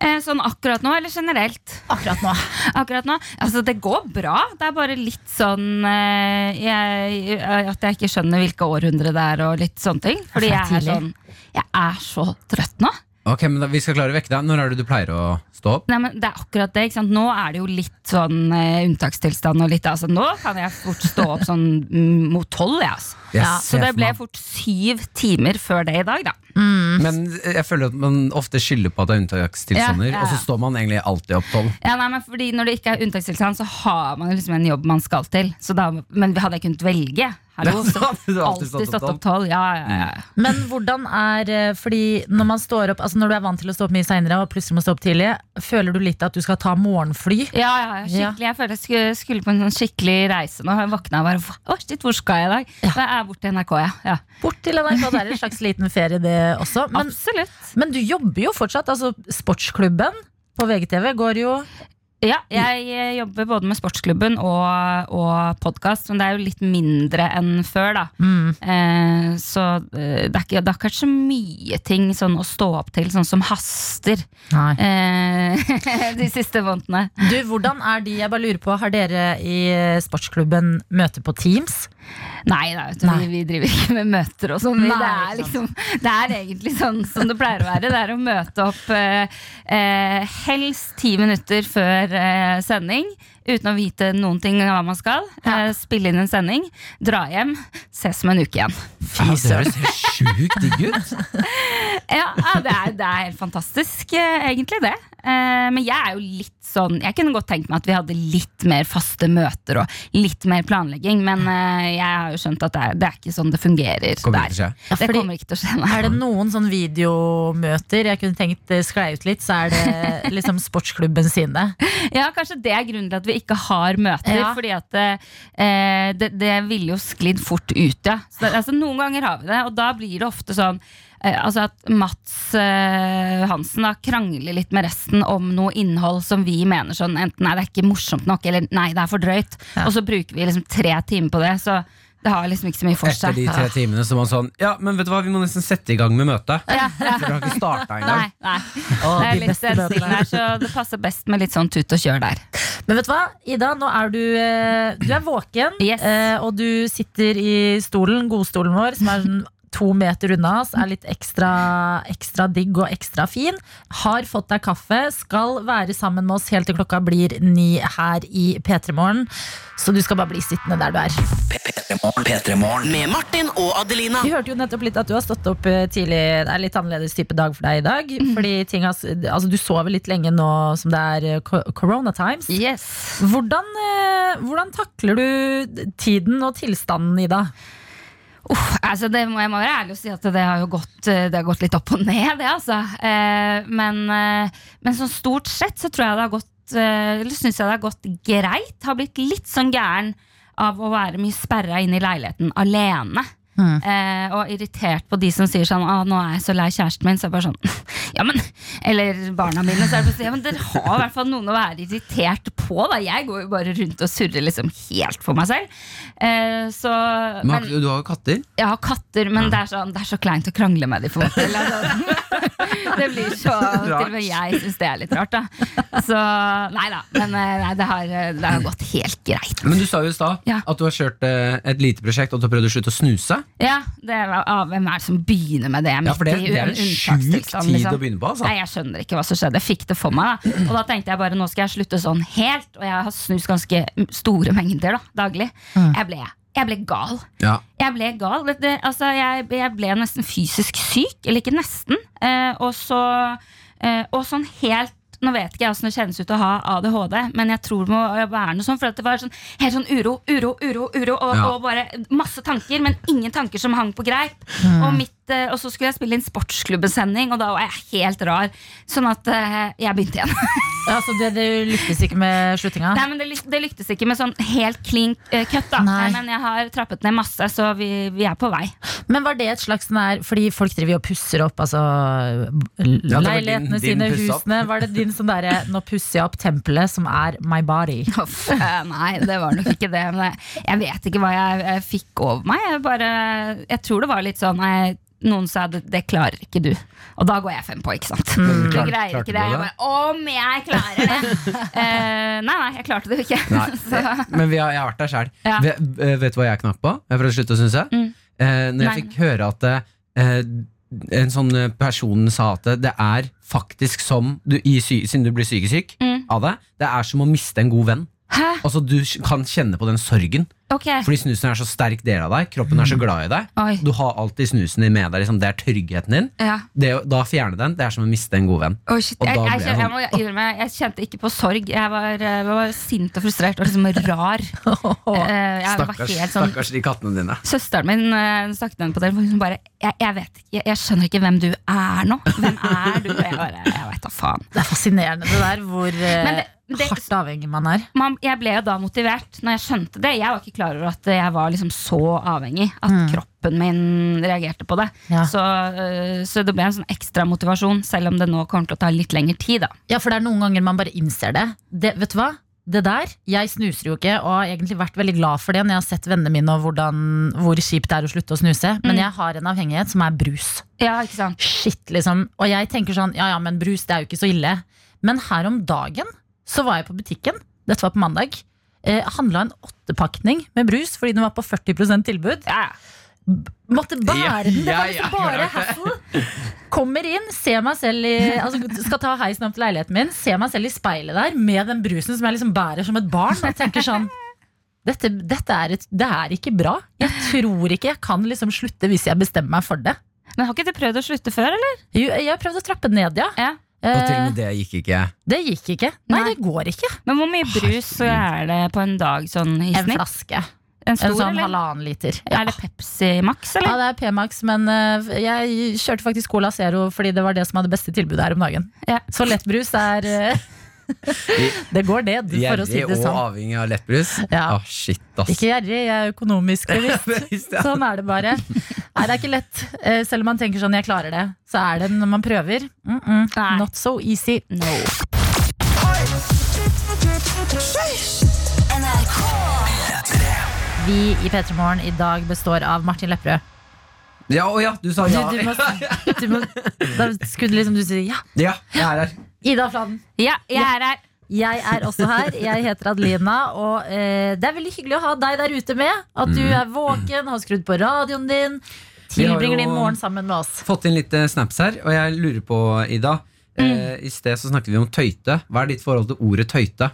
Speaker 7: Eh, Sånn akkurat nå, eller generelt?
Speaker 3: akkurat nå?
Speaker 7: Akkurat nå, altså Det går bra. Det er bare litt sånn eh, jeg, at jeg ikke skjønner hvilke århundre det er, og litt sånne ting. Fordi
Speaker 3: Ja, for
Speaker 7: jeg
Speaker 3: det
Speaker 7: er
Speaker 3: er
Speaker 7: sånn Jeg er så trøtt nå.
Speaker 4: Ok, men da, Vi skal klare å vekke deg. Når er det du pleier å stå opp?
Speaker 7: Nei, men det er akkurat det. ikke sant? Nå er det jo litt sånn eh, unntakstilstand. og litt, altså Nå kan jeg fort stå opp sånn mm, mot tolv. jeg, altså.
Speaker 4: Jeg
Speaker 3: Ja,
Speaker 7: Så
Speaker 4: ser
Speaker 7: det
Speaker 4: for
Speaker 7: ble
Speaker 4: meg-
Speaker 7: fort syv timer før det i dag, da.
Speaker 4: Men eh, jeg føler at man ofte skylder på at det er unntakstilstander,
Speaker 7: Ja, ja, ja.
Speaker 4: og så står man egentlig alltid opp tolv.
Speaker 7: Ja, nei, men fordi Når det ikke er unntakstilstand, så har man jo liksom en jobb man skal til. Så da, men hadde jeg kunnet velge, hallo,
Speaker 4: (laughs) Ja,
Speaker 7: så
Speaker 4: da hadde du alltid stått
Speaker 7: alltid
Speaker 4: opp
Speaker 7: stått opp tolv. Ja, ja, ja.
Speaker 3: Men hvordan er eh, Fordi når man står opp Altså når du er vant til å stå opp mye senere og plutselig må stå opp tidlig, føler du litt at du skal ta morgenfly?
Speaker 7: Ja, ja, ja, skikkelig. Jeg føler jeg skulle, skulle på en sånn skikkelig reise nå. Jeg våkna og bare "Hva- Å, shit, hvor skal jeg i dag? Da er jeg borte i NRK, ja. ja.
Speaker 3: Bort til NRK, det er en slags liten ferie det også. Men,
Speaker 7: Absolutt.
Speaker 3: men du jobber jo fortsatt. Altså Sportsklubben på VGTV går jo
Speaker 7: Ja, jeg eh, jobber både med sportsklubben og, og podkast, men det er jo litt mindre enn før, da.
Speaker 3: Mm.
Speaker 7: Eh, så eh, det er, ikke, det er ikke så mye ting sånn, å stå opp til, sånn som haster,
Speaker 3: Nei.
Speaker 7: eh, (laughs) de siste månedene.
Speaker 3: Du, hvordan er de, jeg bare lurer på, har dere i eh, sportsklubben møte på Teams?
Speaker 7: Nei, da, vet du,
Speaker 3: Nei.
Speaker 7: Vi, vi driver ikke med møter og sånn. Vi-
Speaker 3: Nei,
Speaker 7: Det, er
Speaker 3: ikke
Speaker 7: liksom, det er egentlig sånn som det pleier å være. Det er å møte opp eh, eh, helst ti minutter før eh, sending. Uten å vite noen ting om hva man skal. Eh, spille inn en sending, dra hjem, ses om en uke igjen.
Speaker 4: Fy søren. Det høres sjukt digg ut.
Speaker 7: Ja, ja, det, er, det er helt fantastisk, eh, egentlig, det. Eh, men jeg er jo litt sånn Jeg kunne godt tenkt meg at vi hadde litt mer faste møter og litt mer planlegging, men eh, jeg har jo skjønt at det er, det er ikke sånn det fungerer.
Speaker 4: Kommer ikke til å
Speaker 7: der.
Speaker 4: skje.
Speaker 3: Ja,
Speaker 7: det
Speaker 3: fordi-
Speaker 7: kommer ikke til å skje, nei.
Speaker 3: Er det noen sånn videomøter jeg kunne tenkt eh, sklei ut litt, så er det
Speaker 4: (laughs)
Speaker 3: liksom sportsklubben sine.
Speaker 7: Ja, kanskje det er grunnen til at vi ikke har møter.
Speaker 3: Ja.
Speaker 7: Fordi at eh, det, det ville jo sklidd fort ut, ja. Så, det- altså, noen ganger har vi det, og da blir det ofte sånn eh, Altså at Mats eh, Hansen da krangler litt med resten om noe innhold som vi mener sånn enten nei, det er ikke morsomt nok, eller nei, det er for drøyt. Og så bruker vi liksom tre timer på det, så det har liksom ikke så mye for
Speaker 4: Etter
Speaker 7: seg.
Speaker 4: de tre timene så var han sånn Ja, men vet du hva, vi må nesten sette i gang med møtet.
Speaker 7: Ja, ja.
Speaker 4: For det har ikke starta
Speaker 7: Nei,
Speaker 4: engang.
Speaker 7: nei.
Speaker 3: Å,
Speaker 7: Det er
Speaker 3: de
Speaker 7: litt
Speaker 3: beste
Speaker 7: den
Speaker 3: møtene.
Speaker 7: stilen her, så det passer best med litt sånn tut og kjør der.
Speaker 3: Men vet du hva, Ida, nå er du, eh, du er våken,
Speaker 7: Yes.
Speaker 3: eh, og du sitter i stolen, godstolen vår, som er sånn to meter unna oss, er litt ekstra, ekstra digg og ekstra fin. Har fått deg kaffe, skal være sammen med oss helt til klokka blir ni her i P3morgen. Så du skal bare bli sittende der du er.
Speaker 2: Med Martin og Adelina.
Speaker 3: Vi hørte jo nettopp litt at du har stått opp eh, tidlig. Det er litt annerledes type dag for deg i dag. Fordi ting har, s- altså, du sover litt lenge nå som det er eh, ko- corona times.
Speaker 7: Yes
Speaker 3: Hvordan, eh, hvordan takler du tiden og tilstanden, Ida?
Speaker 7: Uff, altså det må jeg må være ærlig og si at det har jo gått, eh, det har gått litt opp og ned, det, altså. Eh, men, eh, men sånn stort sett så tror jeg det har gått eh, Eller syns jeg det har gått greit. Har blitt litt sånn gæren av å være mye sperra inne i leiligheten alene. Eh, og irritert på de som sier sånn ah, 'Nå er jeg så lei kjæresten min.' Så er jeg bare sånn (laughs) Ja, men Eller barna mine. Så er det bare sånn, ja, men dere har i hvert fall noen å være irritert på. da Jeg går jo bare rundt og surrer liksom helt for meg selv. Eh, så
Speaker 4: Men har ikke- du har jo katter.
Speaker 7: jeg har katter,
Speaker 4: Mm.
Speaker 7: men det, er sånn, det er så kleint å krangle med dem. på en
Speaker 4: (laughs)
Speaker 7: måte. Eller sånn. (laughs) Det blir så Til og med jeg syns det er litt rart, da. Så nei da. Men eh, nei, det, har, eh, det har gått helt greit.
Speaker 4: Men du sa jo i stad
Speaker 7: Ja.
Speaker 4: at du har kjørt eh, et lite prosjekt og du har prøvd å slutte å snuse.
Speaker 7: Ja, det er, ah, Hvem er det som begynner med det?
Speaker 4: Ja, for det,
Speaker 7: midt i
Speaker 4: det er en sjuk
Speaker 7: unntakstilstand,
Speaker 4: tid
Speaker 7: liksom?
Speaker 4: å begynne på. Altså.
Speaker 7: Nei, jeg skjønner ikke hva som skjedde. Jeg fikk det for meg. Da. Og da tenkte jeg bare nå skal jeg slutte sånn helt. Og jeg har snust ganske store mengder da, daglig.
Speaker 4: Mm.
Speaker 7: Jeg, ble, jeg ble gal.
Speaker 4: Ja.
Speaker 7: Jeg ble gal. Det, det, altså, jeg, jeg ble nesten fysisk syk. Eller ikke nesten. Eh, og så eh, Og sånn helt nå vet ikke jeg hvordan det kjennes ut å ha ADHD, men jeg tror det må være noe sånn. For at det var sånn, helt sånn uro, uro, uro, uro og,
Speaker 4: Ja.
Speaker 7: og bare masse tanker, men ingen tanker som hang på greip. Og, mitt, eh, og så skulle jeg spille inn sportsklubbesending, og da var jeg helt rar. Sånn at eh, jeg begynte igjen. (laughs)
Speaker 3: Altså, det, det lyktes ikke med sluttinga?
Speaker 7: Nei, men det, lyk- det lyktes ikke med sånn helt clean eh, cut, da.
Speaker 3: Nei.
Speaker 7: Men jeg har trappet ned masse, så vi, vi er på vei.
Speaker 3: Men var det et slags sånn her Fordi folk driver jo og pusser opp altså,
Speaker 4: var din-
Speaker 3: leilighetene
Speaker 4: din
Speaker 3: sine,
Speaker 4: puss opp.
Speaker 3: husene. Var det din sånn derre 'nå pusser jeg opp tempelet', som er my body?
Speaker 7: Uff, eh, nei, det var nok ikke det. Men jeg, jeg vet ikke hva jeg, eh, fikk over meg. Jeg, bare, jeg tror det var litt sånn nei, Noen sa det, det klarer ikke du. Og da går jeg fem på, ikke sant? Du
Speaker 4: Klarte- Mm.
Speaker 7: Mm. greier
Speaker 4: klarte
Speaker 7: ikke
Speaker 4: du
Speaker 7: det. Jeg
Speaker 4: det?
Speaker 7: bare, Om jeg klarer
Speaker 4: (laughs)
Speaker 7: det! Eh, nei, nei, jeg klarte det jo ikke.
Speaker 4: Nei,
Speaker 7: (laughs)
Speaker 4: (laughs)
Speaker 7: Så,
Speaker 4: Men vi har, jeg har vært der sjøl.
Speaker 7: Ja.
Speaker 4: Vet du hva jeg knapp på? Jeg prøvde å slutte å snuse.
Speaker 7: Mm.
Speaker 4: Eh, når
Speaker 7: Nei.
Speaker 4: jeg fikk høre at eh, en sånn eh, person sa at det er faktisk som du, i sy Siden du blir sykesyk
Speaker 7: Mm.
Speaker 4: av det, det er som å miste en god venn.
Speaker 7: hæ?
Speaker 4: Altså Du kan kjenne på den sorgen,
Speaker 7: Ok.
Speaker 4: fordi snusen er så sterk del av deg. Kroppen
Speaker 7: Mm.
Speaker 4: er så glad i deg.
Speaker 7: Oi.
Speaker 4: Du har alltid snusen din med deg. Liksom. Det er tryggheten din.
Speaker 7: Ja.
Speaker 4: Det, å- da fjerne den, det er som å miste en god venn.
Speaker 7: Oi, shit.
Speaker 4: Og
Speaker 7: Jeg,
Speaker 4: da ble
Speaker 7: jeg,
Speaker 4: jeg
Speaker 7: kjen- jeg,
Speaker 4: sånn,
Speaker 7: må innrømme, jeg kjente ikke på sorg. Jeg var, eh, var sint og frustrert og liksom
Speaker 4: (laughs)
Speaker 7: rar. Eh, jeg var
Speaker 4: Stakkars,
Speaker 7: helt sånn
Speaker 4: stakkars de kattene dine.
Speaker 7: Søsteren min eh, snakket med henne på telefonen. Hun bare jeg, jeg vet ikke, jeg, jeg skjønner ikke hvem du er nå. Hvem er du? Og Jeg bare, jeg vet da faen.
Speaker 3: Det er fascinerende det der, hvor eh,
Speaker 7: Men det- det-
Speaker 3: hardt avhengig man er.
Speaker 7: Man, jeg ble jo da motivert når jeg skjønte det. Jeg var ikke klar over at jeg var liksom så avhengig at kroppen min reagerte på det.
Speaker 3: Mm. Ja.
Speaker 7: Så, eh, så det ble en sånn ekstra motivasjon, selv om det nå kommer til å ta litt lengre tid. da
Speaker 3: Ja, for det er noen ganger man bare innser det. det vet du hva? Det der, Jeg snuser jo ikke, og har egentlig vært veldig glad for det når jeg har sett vennene mine og hvordan, hvor kjipt det er å slutte å snuse. Men jeg har en avhengighet som er brus.
Speaker 7: Ja, ikke sant?
Speaker 3: Shit, liksom. Og jeg tenker sånn, ja ja, men brus det er jo ikke så ille. Men her om dagen så var jeg på butikken, dette var på mandag, eh, handla en åttepakning med brus fordi den var på 40 tilbud.
Speaker 7: Ja, ja.
Speaker 3: Måtte
Speaker 4: Ja,
Speaker 3: bære den! Det
Speaker 4: ja,
Speaker 3: var liksom
Speaker 4: ja,
Speaker 3: bare
Speaker 4: klart det.
Speaker 3: hassle. Kommer inn, ser meg selv i altså, Skal ta heisen opp til leiligheten min, ser meg selv i speilet der med den brusen som jeg liksom bærer som et barn, og tenker sånn dette, dette er et, Det er ikke bra. Jeg tror ikke jeg kan liksom slutte hvis jeg bestemmer meg for det.
Speaker 7: Men har ikke du prøvd å slutte før, eller?
Speaker 3: Jo, jeg har prøvd å trappe ned, ja.
Speaker 7: Ja.
Speaker 4: Og til og
Speaker 3: Eh,
Speaker 4: med det gikk ikke.
Speaker 3: det gikk ikke. Nei,
Speaker 7: Nei.
Speaker 3: det går ikke.
Speaker 7: Men hvor mye brus så er det på en dag sånn i
Speaker 3: En
Speaker 7: snitt?
Speaker 3: flaske.
Speaker 7: En stor,
Speaker 3: En sånn
Speaker 7: eller?
Speaker 3: halvannen liter. Ja.
Speaker 7: Er det Pepsi Max,
Speaker 3: Ja,
Speaker 7: eller?
Speaker 3: det er P-Max, men eh, jeg kjørte faktisk Cola Zero fordi det var det som hadde beste tilbudet her om dagen.
Speaker 7: Ja.
Speaker 3: Så lettbrus er eh,
Speaker 7: (laughs)
Speaker 3: Det går ned, for å si det
Speaker 4: Gjerrig og
Speaker 3: sånn.
Speaker 4: avhengig av lettbrus.
Speaker 3: Ja.
Speaker 4: Ah, shit, ass.
Speaker 3: Ikke gjerrig, jeg er økonomisk bevisst.
Speaker 4: Hvis (laughs) det er-
Speaker 3: Sånn er det bare. Nei, det er ikke lett. Eh, Selv om man tenker sånn, jeg klarer det, så er det når man prøver. Mm -mm.
Speaker 7: Nei.
Speaker 3: Not so easy.
Speaker 7: No.
Speaker 3: Vi i P3 Morgen i dag består av Martin Lepperød.
Speaker 4: Ja, å ja, du sa
Speaker 3: Du,
Speaker 4: ja.
Speaker 3: du må, du må, da skulle liksom du si ja.
Speaker 4: (laughs) Ja, jeg er her.
Speaker 3: Ida Fladen.
Speaker 7: Ja, jeg er her.
Speaker 3: Jeg er også her. Jeg heter Adelina, og eh, det er veldig hyggelig å ha deg der ute med. At du er våken, har skrudd på radioen din,
Speaker 4: Mm. Vi har jo-
Speaker 3: tilbringer din morgen sammen med oss.
Speaker 4: Fått inn litt eh, snaps her, og jeg lurer på, Ida. Eh,
Speaker 7: Mm.
Speaker 4: I sted så snakket vi om tøyte. Hva er ditt forhold til ordet tøyte?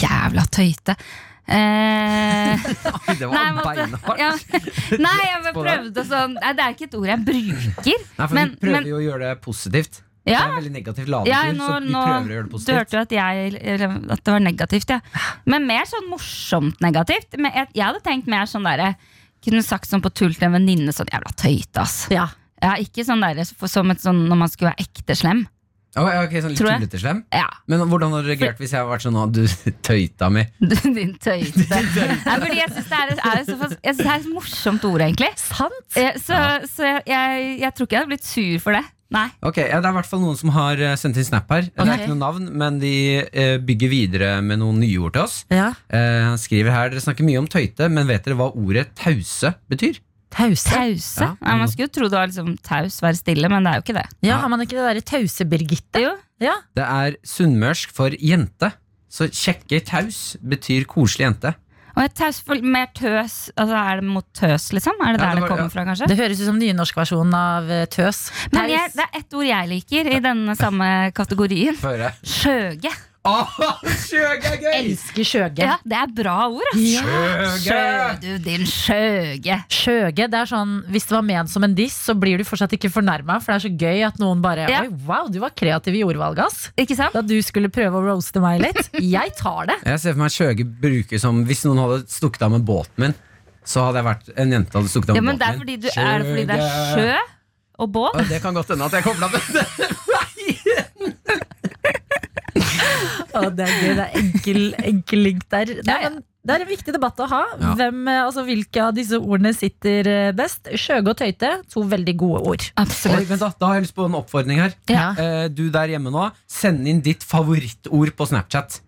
Speaker 7: Jævla tøyte.
Speaker 4: (laughs)
Speaker 7: Eh,
Speaker 4: Oi, Det
Speaker 7: nei,
Speaker 4: var
Speaker 7: men at-
Speaker 4: beinhardt.
Speaker 7: ja,
Speaker 4: (laughs)
Speaker 7: nei, jeg bare
Speaker 4: På
Speaker 7: prøvde å sånn Nei, det er ikke et ord jeg bruker.
Speaker 4: Nei, for
Speaker 7: men-
Speaker 4: Vi prøver
Speaker 7: men-
Speaker 4: jo å gjøre det positivt. Det
Speaker 7: Ja.
Speaker 4: er en veldig negativt ladet
Speaker 7: Ja,
Speaker 4: ord,
Speaker 7: nå,
Speaker 4: så vi
Speaker 7: nå,
Speaker 4: prøver å gjøre det
Speaker 7: Du
Speaker 4: positivt.
Speaker 7: hørte jo at, jeg, eller, at det var negativt, ja. Men mer sånn morsomt negativt. Men jeg, jeg hadde tenkt mer sånn derre Kunne sagt sånn på tull til en venninne sånn jævla tøyte, ass.
Speaker 3: Ja.
Speaker 7: Ja, ikke sånn derre for- som et sånn når man skulle være ekte slem.
Speaker 4: Å, ja, ok, sånn litt
Speaker 7: Tror jeg.
Speaker 4: tullete slem.
Speaker 7: Ja, (laughs)
Speaker 4: Men hvordan hadde du reagert hvis jeg hadde vært sånn «Å, du (laughs) tøyta mi?
Speaker 7: du, din tøyte. Nei, fordi jeg syns det er, er såpass, jeg synes det er et morsomt ord, egentlig.
Speaker 3: Sant?
Speaker 7: Eh, Så, så jeg, jeg, jeg tror ikke jeg hadde blitt sur for det. Nei.
Speaker 4: Ok, ja, Det er i hvert fall noen som har eh, sendt inn snap her. Det er
Speaker 3: Ok.
Speaker 4: ikke noe navn, men de eh, bygger videre med noen nye ord til oss.
Speaker 3: Ja.
Speaker 4: Eh, Han skriver her Dere snakker mye om tøyte, men vet dere hva ordet tause betyr?
Speaker 3: Tause.
Speaker 7: Tause.
Speaker 4: Ja.
Speaker 7: Ja, man skulle jo tro det var liksom taus, være stille, men det er jo ikke det.
Speaker 3: Ja, har man ikke det derre tause-Birgitte?
Speaker 7: Jo,
Speaker 3: Ja.
Speaker 4: Det er sunnmørsk for jente. Så kjekke taus betyr koselig jente.
Speaker 7: Og et taus for mer tøs Altså er det mot tøs, liksom? Er
Speaker 4: Ja,
Speaker 7: det der
Speaker 4: det
Speaker 7: det,
Speaker 4: var-
Speaker 7: kommer
Speaker 4: ja.
Speaker 7: fra, kanskje?
Speaker 3: Det høres ut som nynorskversjonen av eh, tøs.
Speaker 7: Men jeg,
Speaker 3: Taus.
Speaker 7: det er ett ord jeg liker i denne samme kategorien.
Speaker 4: Få høre.
Speaker 7: Skjøge.
Speaker 4: Åh, (laughs) Skjøg er gøy!
Speaker 3: Elsker skjøge.
Speaker 7: Ja, det er bra ord, ass.
Speaker 4: Skjøge!
Speaker 7: Skjø, du, din skjøge.
Speaker 3: Skjøge, det er sånn, Hvis det var ment som en diss, så blir du fortsatt ikke fornærma. For det er så gøy at noen bare
Speaker 7: Ja.
Speaker 3: Oi, wow, du var kreativ i ordvalget, ass.
Speaker 7: Ikke sant?
Speaker 3: Da du skulle prøve å roaste meg litt. Jeg tar det.
Speaker 4: Jeg ser for meg skjøge bruker som Hvis noen hadde stukket av med båten min, så hadde jeg vært en jente hadde stukket av
Speaker 7: Ja,
Speaker 4: med
Speaker 7: men det er,
Speaker 4: båten
Speaker 7: fordi
Speaker 4: min.
Speaker 7: du, er det fordi det er
Speaker 4: Skjøge.
Speaker 7: sjø og båt?
Speaker 4: Å, Det kan godt hende at jeg kobla med det.
Speaker 3: Å, det er gøy. Det er enkel, enkel link der. Nei,
Speaker 7: ja.
Speaker 3: men det er en viktig debatt å ha.
Speaker 4: Ja.
Speaker 3: Hvem, eh, altså, hvilke av disse ordene sitter eh, best? Skjøge og tøyte, to veldig gode ord.
Speaker 4: Oi,
Speaker 7: Absolutt.
Speaker 4: vent da, da har jeg lyst på en oppfordring her.
Speaker 3: Ja.
Speaker 4: Eh, du der hjemme nå, send inn ditt favorittord på Snapchat.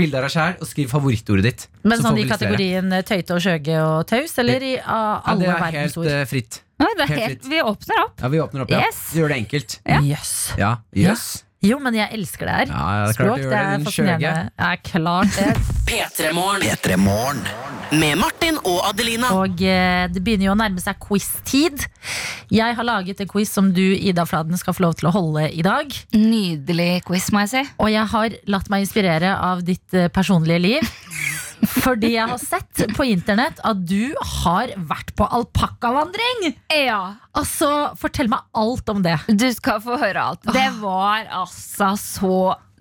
Speaker 4: Bilde av deg sjæl, og skriv favorittordet ditt.
Speaker 3: Men
Speaker 4: Så får
Speaker 3: sånn
Speaker 4: vi
Speaker 3: i
Speaker 4: litt flere.
Speaker 3: kategorien eh, tøyte og skjøge og taus, eller i ah,
Speaker 4: Ja,
Speaker 3: alle
Speaker 4: det er helt
Speaker 3: verdensord?
Speaker 4: eh, fritt.
Speaker 7: Oi, det er
Speaker 4: Helt
Speaker 7: helt,
Speaker 4: fritt.
Speaker 7: vi åpner opp.
Speaker 4: Ja, Vi åpner opp, ja.
Speaker 7: Yes.
Speaker 4: Gjør det enkelt.
Speaker 3: Jøss.
Speaker 4: Ja, jøss.
Speaker 3: Jo, men jeg elsker det her.
Speaker 4: Ja, ja, det er klart du gjør det, din
Speaker 3: fascinerende. Ja, klart det.
Speaker 4: (laughs)
Speaker 2: P3-morgen. Med Martin og Adelina.
Speaker 3: Og eh, det begynner jo å nærme seg quiz-tid. Jeg har laget en quiz som du, Ida Fladen, skal få lov til å holde i dag.
Speaker 7: Nydelig quiz, må jeg si.
Speaker 3: Og jeg har latt meg inspirere av ditt eh, personlige
Speaker 4: (laughs)
Speaker 3: liv. Fordi jeg har sett på internett at du har vært på alpakkavandring!
Speaker 7: Ja,
Speaker 3: Altså, fortell meg alt om det.
Speaker 7: Ah. Du skal få høre alt. Det var altså så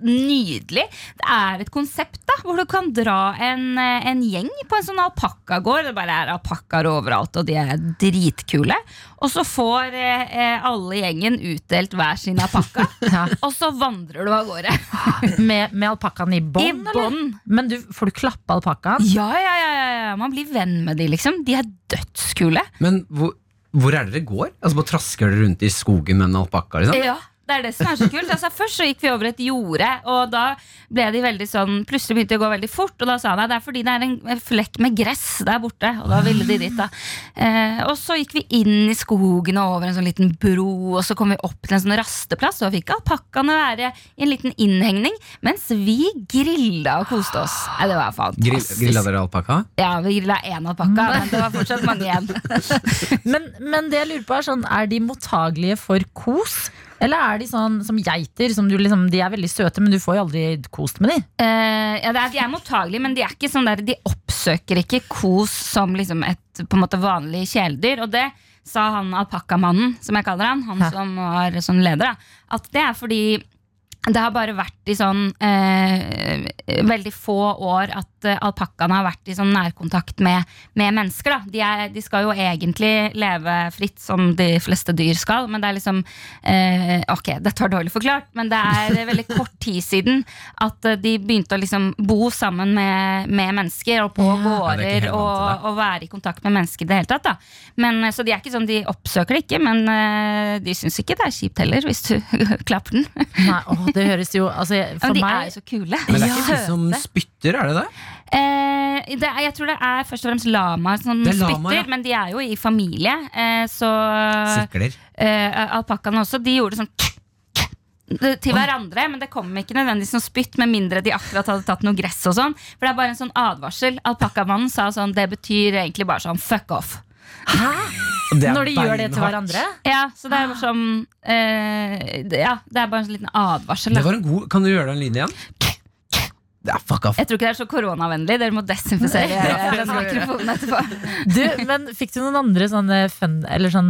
Speaker 7: nydelig. Det er et konsept da, hvor du kan dra en, eh, en gjeng på en sånn alpakkagård. Det bare er alpakkaer overalt, og de er dritkule. Og så får eh, eh, alle gjengen utdelt hver sin alpakka, (laughs) og så vandrer du av gårde.
Speaker 3: Med, med alpakkaen i
Speaker 7: I
Speaker 3: bånd, eller?
Speaker 7: bånd.
Speaker 3: Men du, får du klappe alpakkaen? (laughs)
Speaker 7: Ja, ja, ja, ja, ja. Man blir venn med de, liksom. De er dødskule.
Speaker 4: Men hvor, hvor er det dere går? Altså Bare trasker dere rundt i skogen med en alpakka? Liksom?
Speaker 7: Ja, det er det som er så kult. Altså, først så gikk vi over et jorde, og da ble de veldig sånn Plutselig begynte de å gå veldig fort, og da sa han at det er fordi det er en flekk med gress der borte. Og da ville de dit, da. Eh, og så gikk vi inn i skogen og over en sånn liten bro, og så kom vi opp til en sånn rasteplass, og da fikk alpakkaene være i en liten innhegning, mens vi grilla og koste oss. Nei, det var
Speaker 4: Grill,
Speaker 7: fantastisk.
Speaker 4: grilla dere alpakka?
Speaker 7: Ja, vi grilla én alpakka, men det var fortsatt mange igjen.
Speaker 3: Men, men det jeg lurer på er sånn, er de mottagelige for kos? Eller er de sånn som geiter? Som du liksom, de er veldig søte, men du får jo aldri kost med de.
Speaker 7: Eh, ja, det er, de er mottagelige, men de, er ikke sånn der, de oppsøker ikke kos som liksom et på en måte vanlig kjæledyr. Og det sa han alpakkamannen, som jeg kaller han, han
Speaker 3: Ja.
Speaker 7: som var sånn leder, da, at det er fordi det har bare vært i sånn eh, veldig få år at eh, alpakkaene har vært i sånn nærkontakt med, med mennesker. Da. De, er, de skal jo egentlig leve fritt, som de fleste dyr skal, men det er liksom eh, Ok, dette var dårlig forklart, men det er veldig kort tid siden at eh, de begynte å liksom bo sammen med, med mennesker og på
Speaker 4: Ja, det er ikke
Speaker 7: gårder
Speaker 4: helt vant til det.
Speaker 7: og, og være i kontakt med mennesker i det hele tatt. Da. Men, eh, så de er ikke sånn, de oppsøker det ikke, men eh, de syns ikke det er kjipt heller, hvis du (laughs) klapper den.
Speaker 3: Nei, åh, det høres jo altså, (laughs) jeg-
Speaker 7: Ja,
Speaker 3: For
Speaker 7: men de er
Speaker 3: meg
Speaker 7: jo så kule.
Speaker 4: Men det er ikke
Speaker 7: Søte.
Speaker 4: de som spytter, er det det?
Speaker 7: (laughs) Eh, det er, jeg tror det er først og fremst lamaer som
Speaker 4: Det er
Speaker 7: spytter,
Speaker 4: lamaer, ja.
Speaker 7: men de er jo i familie. Eh, så
Speaker 4: Sikler.
Speaker 7: eh, alpakkaene også, de gjorde sånn til hverandre, men det kom ikke nødvendigvis noe spytt, med mindre de akkurat hadde tatt noe gress og sånn. For det er bare en sånn advarsel. Alpakkamannen sa sånn, det betyr egentlig bare sånn fuck off.
Speaker 4: Det er
Speaker 3: Når de gjør det til
Speaker 4: beinhardt.
Speaker 3: hverandre?
Speaker 7: Ja, så det er bare sånn eh, det- Ja, det er bare en sånn liten advarsel.
Speaker 4: Det
Speaker 7: da.
Speaker 4: var en god Kan du gjøre den lyden igjen? Ja, fuck off.
Speaker 7: Jeg tror ikke det er så koronavennlig. Dere må
Speaker 4: (laughs)
Speaker 7: desinfisere eh, den mikrofonen etterpå.
Speaker 3: Du, men Fikk du noen andre sånne fun Eller sånn,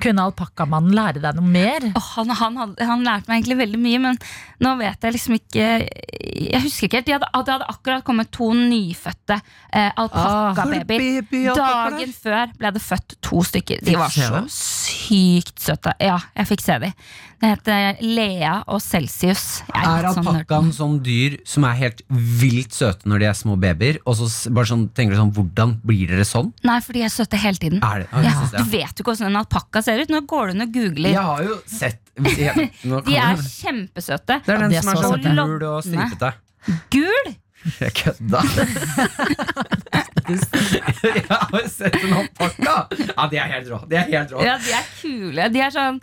Speaker 3: Kunne alpakkamannen lære deg noe mer?
Speaker 7: Åh, han, han, hadde- han lærte meg egentlig veldig mye, men nå vet jeg liksom ikke Jeg husker ikke helt. De hadde, det hadde akkurat kommet to nyfødte eh,
Speaker 4: Ah.
Speaker 7: alpakkababyer. Dagen før ble det født to stykker. De var
Speaker 4: se
Speaker 7: så
Speaker 4: dem?
Speaker 7: sykt søte. Ja, jeg fikk se dem. Det heter Lea og Celsius. Jeg
Speaker 4: Er
Speaker 7: litt sånn nerd.
Speaker 4: alpakkaen sånn dyr som er helt vilt søte når de er små babyer? Og så s- bare sånn, tenker du sånn, hvordan blir dere sånn?
Speaker 7: Nei, for de er søte hele tiden.
Speaker 4: Er det? Ah, jeg
Speaker 7: Ja,
Speaker 4: synes
Speaker 7: du
Speaker 4: det,
Speaker 7: vet jo ikke åssen en alpakka ser ut. Nå går du inn og
Speaker 4: ja.
Speaker 7: googler.
Speaker 4: Jeg har jo sett (laughs) jeg, nå kan
Speaker 7: De er
Speaker 4: jeg-
Speaker 7: kjempesøte.
Speaker 4: Det er
Speaker 3: Ja,
Speaker 4: den
Speaker 3: de er
Speaker 4: som er
Speaker 3: så
Speaker 4: sånn
Speaker 7: søte.
Speaker 4: gul
Speaker 3: (laughs)
Speaker 4: og stripete.
Speaker 7: Gul!
Speaker 4: Jeg kødda! (laughs) jeg har sett en alpakka! Ja, de er helt rå. De er helt rå.
Speaker 7: Ja, de er kule. De er sånn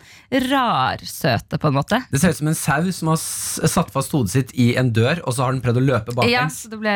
Speaker 7: rarsøte, på en måte.
Speaker 4: Det ser ut som en sau som har s- satt fast hodet sitt i en dør, og så har den prøvd å løpe
Speaker 7: Ja,
Speaker 4: baklengs.
Speaker 7: så det ble,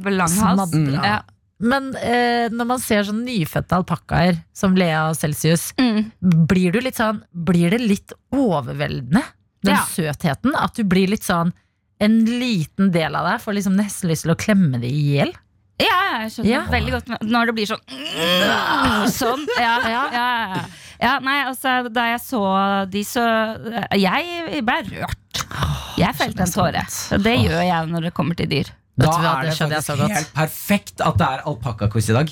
Speaker 7: ble lang hals.
Speaker 3: Smadra.
Speaker 7: Ja.
Speaker 3: Men eh, når man ser sånn nyfødte alpakkaer som Lea og Celsius,
Speaker 7: Mm.
Speaker 3: blir du litt sånn Blir det litt overveldende, den
Speaker 7: Ja.
Speaker 3: søtheten? At du blir litt sånn en liten del av deg får liksom nesten lyst til å klemme det i hjel.
Speaker 7: ja, jeg skjønner
Speaker 3: Ja.
Speaker 7: veldig godt med- når det blir sånn Sånn. Ja, ja, ja. ja nei, altså, da jeg så de, så Jeg ble rørt. Jeg felte en tåre. Og det gjør jeg når det kommer til dyr.
Speaker 4: Da
Speaker 3: Vet du hva,
Speaker 4: er
Speaker 3: det
Speaker 4: det
Speaker 3: skjønner jeg
Speaker 4: faktisk
Speaker 3: så godt.
Speaker 4: helt perfekt at det er alpakkaquiz i dag.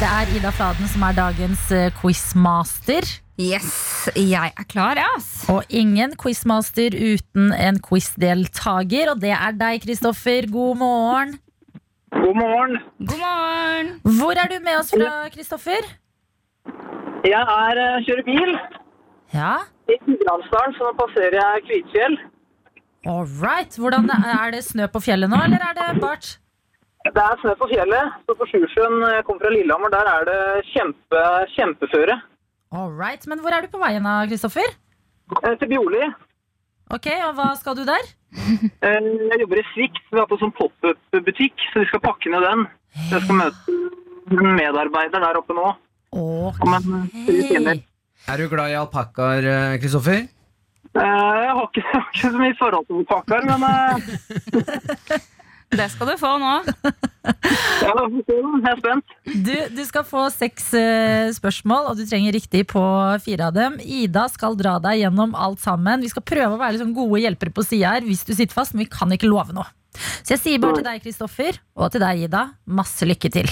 Speaker 3: Det er Ida Fladen som er dagens eh, quizmaster.
Speaker 7: Yes, jeg er klar, jeg, ass.
Speaker 3: Og ingen quizmaster uten en quizdeltaker, og det er deg, Kristoffer. God morgen.
Speaker 8: God morgen.
Speaker 7: God morgen.
Speaker 3: Hvor er du med oss fra, Kristoffer?
Speaker 8: Jeg er, eh, kjører bil
Speaker 3: Ja,
Speaker 8: i Gudbrandsdalen, så nå passerer jeg Kvitfjell.
Speaker 3: all right. Hvordan Er det snø på fjellet nå, eller er det bart?
Speaker 8: Det er snø på fjellet, så på Sjusjøen eh, jeg kommer fra Lillehammer, der er det kjempe, kjempeføre.
Speaker 3: All right, Men hvor er du på veien da, Kristoffer?
Speaker 8: Eh, Til Bjorli.
Speaker 3: Ok, og hva skal du der?
Speaker 8: eh, Jeg jobber i Svikt, vi har på sånn pop-up-butikk, så vi skal pakke ned den. Jeg skal møte en medarbeider der oppe nå.
Speaker 3: Ok.
Speaker 8: Om en tre timer.
Speaker 4: Er du glad i alpakkaer, Kristoffer?
Speaker 8: Eh, Jeg har ikke, jeg har ikke så mye forhold til pakker, men eh,
Speaker 7: Det skal du få nå.
Speaker 8: Ja, da får vi se, da. Jeg er spent.
Speaker 3: Du, du skal få seks eh, spørsmål, og du trenger riktig på fire av dem. Ida skal dra deg gjennom alt sammen. Vi skal prøve å være litt sånn gode hjelpere på sida her hvis du sitter fast, men vi kan ikke love noe. Så jeg sier bare til deg, Kristoffer, og til deg, Ida, masse lykke til.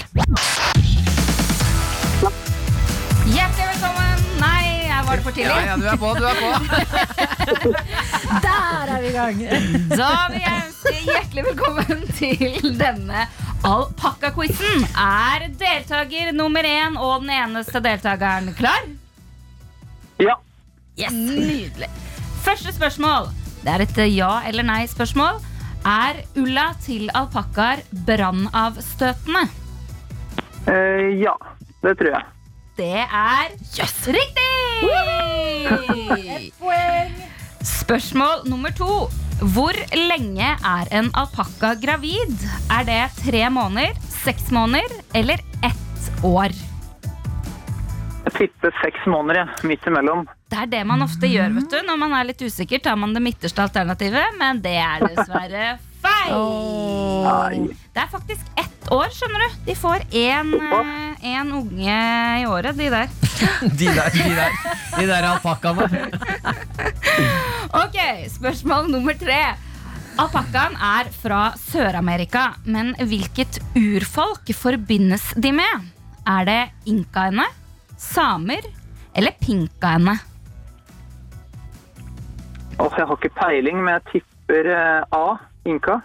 Speaker 7: Hjertelig velkommen! Nei, jeg var det for tidlig.
Speaker 9: ja, du er på, du er på.
Speaker 3: Der er vi i gang!
Speaker 7: Da vil jeg ønske hjertelig velkommen til denne alpakkaquizen. Er deltaker nummer én og den eneste deltakeren klar?
Speaker 8: Ja.
Speaker 7: Yes. Nydelig. Første spørsmål. Det er et eh, ja- eller nei-spørsmål. Er ulla til alpakkaer brannavstøtende?
Speaker 8: Eh, ja, det tror jeg.
Speaker 7: Det er riktig! Spørsmål nummer to. Hvor lenge er en alpakka gravid? Er det tre måneder, seks måneder eller ett år?
Speaker 8: Jeg tipper seks måneder, jeg. Midt imellom.
Speaker 7: Det er det man ofte gjør vet du. når man er litt usikker. Tar man det midterste alternativet, men det er dessverre feil. Det er faktisk ett år, skjønner du. De får én eh, én unge i året, de der.
Speaker 4: (laughs) De der, de der, de der alpakkaene.
Speaker 7: Ok, spørsmål nummer tre. Alpakkaen er fra Sør-Amerika, men hvilket urfolk forbindes de med? Er det inkaene, samer eller pinkaene?
Speaker 8: Åh, Altså, jeg har ikke peiling, men jeg tipper eh, A. Inka.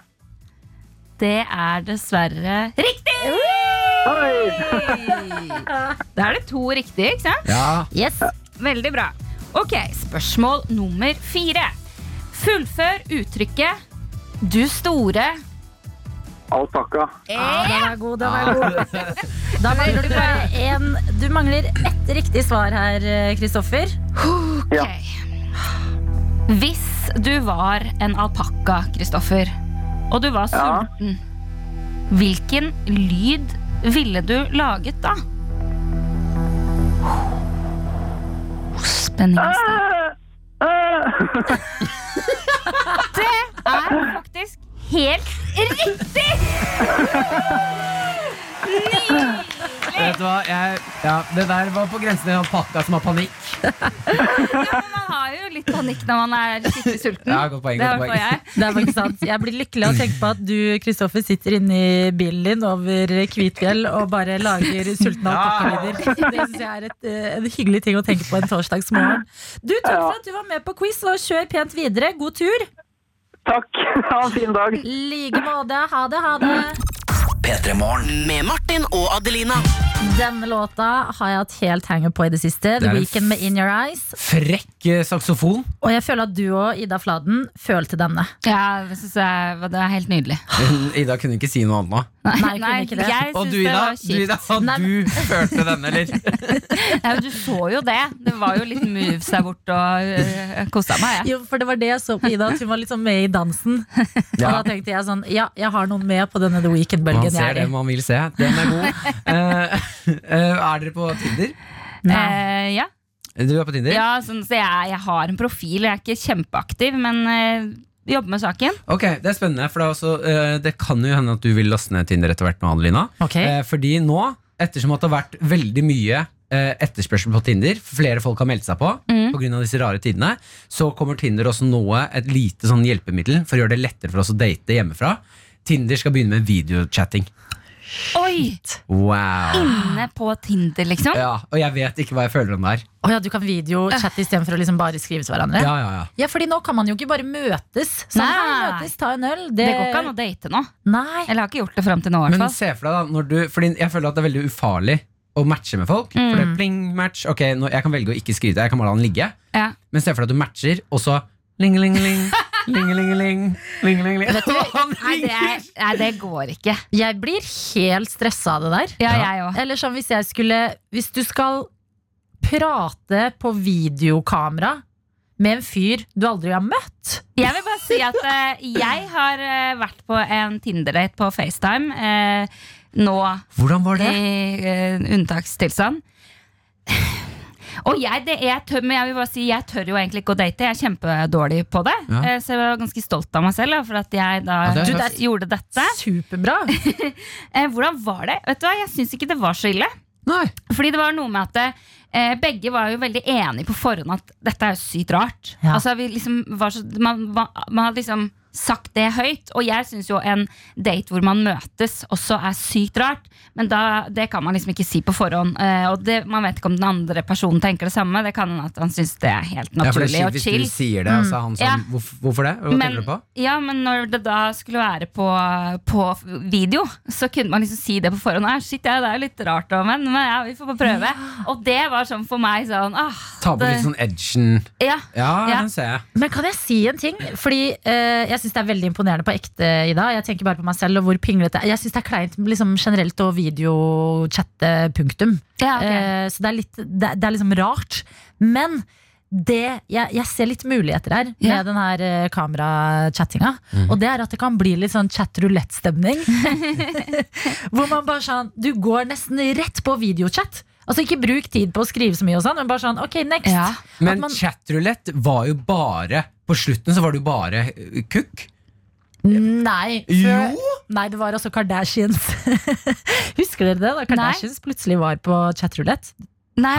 Speaker 7: Det er dessverre riktig!
Speaker 8: Oi!
Speaker 7: Da er det to riktige, ikke sant?
Speaker 4: Ja.
Speaker 3: Yes.
Speaker 7: Veldig bra. Ok, spørsmål nummer fire. Fullfør uttrykket 'du store'.
Speaker 8: Alpakka.
Speaker 3: Ja, den er god, den er god. Da mangler du bare én Du mangler ett riktig svar her, eh, Kristoffer.
Speaker 8: Ja.
Speaker 7: Ok. Hvis du var en alpakka, Kristoffer, og du var
Speaker 8: Ja.
Speaker 7: sulten, hvilken lyd ville du laget da? Spenningen stiger.
Speaker 3: Ah!
Speaker 8: Eh,
Speaker 7: Det er faktisk helt riktig!
Speaker 4: Vet du hva, jeg, ja, det der var på grensen til en alpakka som har panikk.
Speaker 7: Man har jo litt panikk når man er skikkelig sulten.
Speaker 4: Ja, godt poeng,
Speaker 7: det
Speaker 4: godt
Speaker 7: har i hvert
Speaker 4: poeng.
Speaker 7: fall jeg.
Speaker 3: Det er faktisk sant. Jeg blir lykkelig av å tenke på at du Kristoffer, sitter inne i bilen din over Kvitfjell og bare lager sultne alpakkelyder. Det syns jeg er et, eh, en hyggelig ting å tenke på en torsdagsmorgen. Du, Takk for at du var med på quiz, og kjør pent videre. God tur.
Speaker 8: takk. (laughs) Ha en fin dag.
Speaker 3: Like måte. Ha det, ha det.
Speaker 2: Med Martin og Adelina.
Speaker 3: Denne låta har jeg hatt helt hanger på i det siste.
Speaker 4: Det
Speaker 3: The
Speaker 4: er en
Speaker 3: Weekend med In Your Eyes.
Speaker 4: Frekk eh, saksofon.
Speaker 3: Og jeg føler at du og Ida Fladen følte denne.
Speaker 7: Ja, det synes jeg det er helt nydelig.
Speaker 4: Men Ida kunne ikke si noe annet.
Speaker 3: Nei, jeg kunne ikke det.
Speaker 7: jeg
Speaker 4: Og
Speaker 7: synes
Speaker 4: du,
Speaker 7: det
Speaker 4: Ida,
Speaker 7: var
Speaker 4: du, Ida
Speaker 7: kjipt.
Speaker 3: Nei, men-
Speaker 4: du følte den, eller?
Speaker 7: Ja, men du så jo det. Det var jo litt moves her borte og uh, kosa meg. Jeg.
Speaker 3: Jo, for det var det jeg så på Ida, at hun var liksom med i dansen. Og da
Speaker 4: Ja.
Speaker 3: tenkte jeg sånn, ja, jeg har noen med på denne The Weekend-bølgen
Speaker 4: Man
Speaker 3: jeg
Speaker 4: ser
Speaker 3: er i.
Speaker 4: det man vil se. Den er god.
Speaker 3: (laughs)
Speaker 4: Eh, (laughs) eh, er dere på Tinder?
Speaker 3: Nei.
Speaker 7: Eh, ja.
Speaker 4: Du er på Tinder?
Speaker 7: ja sånn, så jeg, jeg har en profil, jeg er ikke kjempeaktiv, men eh, jobber med saken.
Speaker 4: Ok, Det er spennende, for det, er også, eh, det kan jo hende at du vil laste ned Tinder etter hvert. nå, Adelina
Speaker 3: Ok.
Speaker 4: Eh, Fordi nå, ettersom at det har vært veldig mye eh, etterspørsel på Tinder, flere folk har meldt seg på
Speaker 7: Mm.
Speaker 4: på grunn av disse rare tidene, så kommer Tinder også nå et lite sånn hjelpemiddel for å gjøre det lettere for oss å date hjemmefra. Tinder skal begynne med videochatting.
Speaker 7: Oi!
Speaker 4: Wow.
Speaker 7: (gasps) Inne på Tinder, liksom.
Speaker 4: Ja, og jeg vet ikke hva jeg føler om det her.
Speaker 3: Å ja, du kan videochatte istedenfor å liksom bare skrive til hverandre?
Speaker 4: Ja, ja, ja.
Speaker 3: Ja, fordi nå kan man jo ikke bare møtes. Sånn,
Speaker 7: Nei.
Speaker 3: hei, møtes, ta en øl.
Speaker 7: Det går ikke an å date nå.
Speaker 3: Nei.
Speaker 7: Eller har ikke gjort det fram til nå. i hvert
Speaker 4: Men
Speaker 7: fall.
Speaker 4: se for deg da når du, fordi Jeg føler at det er veldig ufarlig å matche med folk. For det
Speaker 7: Mm.
Speaker 4: er pling, match Ok, nå, Jeg kan velge å ikke skryte, jeg kan bare la den ligge.
Speaker 7: Ja.
Speaker 4: Men se for deg at du matcher, og så ling-ling-ling.
Speaker 7: (laughs)
Speaker 4: Ling-ling-ling. Ling-ling-ling.
Speaker 3: Vet du,
Speaker 4: (laughs)
Speaker 7: Nei, det er, (laughs) nei, det går ikke.
Speaker 3: Jeg blir helt stressa av det der.
Speaker 7: Ja, jeg òg.
Speaker 3: Eller sånn hvis jeg skulle Hvis du skal prate på videokamera med en fyr du aldri har møtt
Speaker 7: Jeg vil bare si at eh, jeg har eh, vært på en Tinder-date på FaceTime eh, nå
Speaker 4: Hvordan var det?
Speaker 7: i eh, unntakstilstand. Og jeg, det, jeg, tør, men jeg vil bare si Jeg tør jo egentlig ikke å date. Jeg er kjempedårlig på det.
Speaker 4: Ja.
Speaker 7: Eh, Så jeg var ganske stolt av meg selv da, for at jeg da
Speaker 4: Ja, det er
Speaker 7: du, gjorde dette.
Speaker 3: Superbra.
Speaker 7: (laughs) Eh, Hvordan var det? Vet du hva, Jeg syns ikke det var så ille.
Speaker 4: Nei.
Speaker 7: Fordi det var noe med at eh, begge var jo veldig enige på forhånd at dette er jo sykt rart.
Speaker 3: Ja.
Speaker 7: Altså, vi liksom var så, man, var- man hadde liksom sagt det høyt. Og jeg syns jo en date hvor man møtes, også er sykt rart. Men da, det kan man liksom ikke si på forhånd. Eh, og det, man vet ikke om den andre personen tenker det samme. Det kan hende at han syns det er helt
Speaker 4: Ja, for det
Speaker 7: naturlig
Speaker 4: er
Speaker 7: og
Speaker 4: kjipt
Speaker 7: chill. Mm,
Speaker 4: Hvis du sier det, og så er han sånn
Speaker 7: Ja.
Speaker 4: hvorfor, hvorfor det? Hva
Speaker 7: Men,
Speaker 4: tenker du på?
Speaker 7: ja, men når det da skulle være på, på video, så kunne man liksom si det på forhånd. Ah, shit, ja, det er jo litt rart, da, men, men ja, vi får bare prøve. Og det var sånn for meg sånn ah,
Speaker 4: Ta på
Speaker 7: det,
Speaker 4: litt sånn edgen.
Speaker 7: ja.
Speaker 4: Ja,
Speaker 7: Ja.
Speaker 4: den ser jeg.
Speaker 3: Men kan jeg si en ting? Fordi eh, Jeg syns det er veldig imponerende på ekte, Ida. Jeg tenker bare på meg selv og hvor pinglete Jeg syns det er kleint liksom, generelt å videochatte, punktum.
Speaker 7: Ja, ok.
Speaker 3: Eh, så det er, litt, det, det er liksom rart. Men det, jeg, jeg ser litt muligheter her med
Speaker 7: Ja.
Speaker 3: den her eh, kamerachattinga. Og det er at det kan bli litt sånn chat roulette-stemning. (laughs) Hvor man bare sånn Du går nesten rett på videochat. Altså Ikke bruk tid på å skrive så mye, og sånn men bare sånn OK, next.
Speaker 7: Ja.
Speaker 4: Men
Speaker 3: man-
Speaker 4: chatroulette var jo bare På slutten så var du bare eh, kukk.
Speaker 3: Nei.
Speaker 4: Jo!
Speaker 3: Nei, det var altså Kardashians. (laughs) Husker dere det? da? Kardashians plutselig var på chatroulette.
Speaker 7: Nei,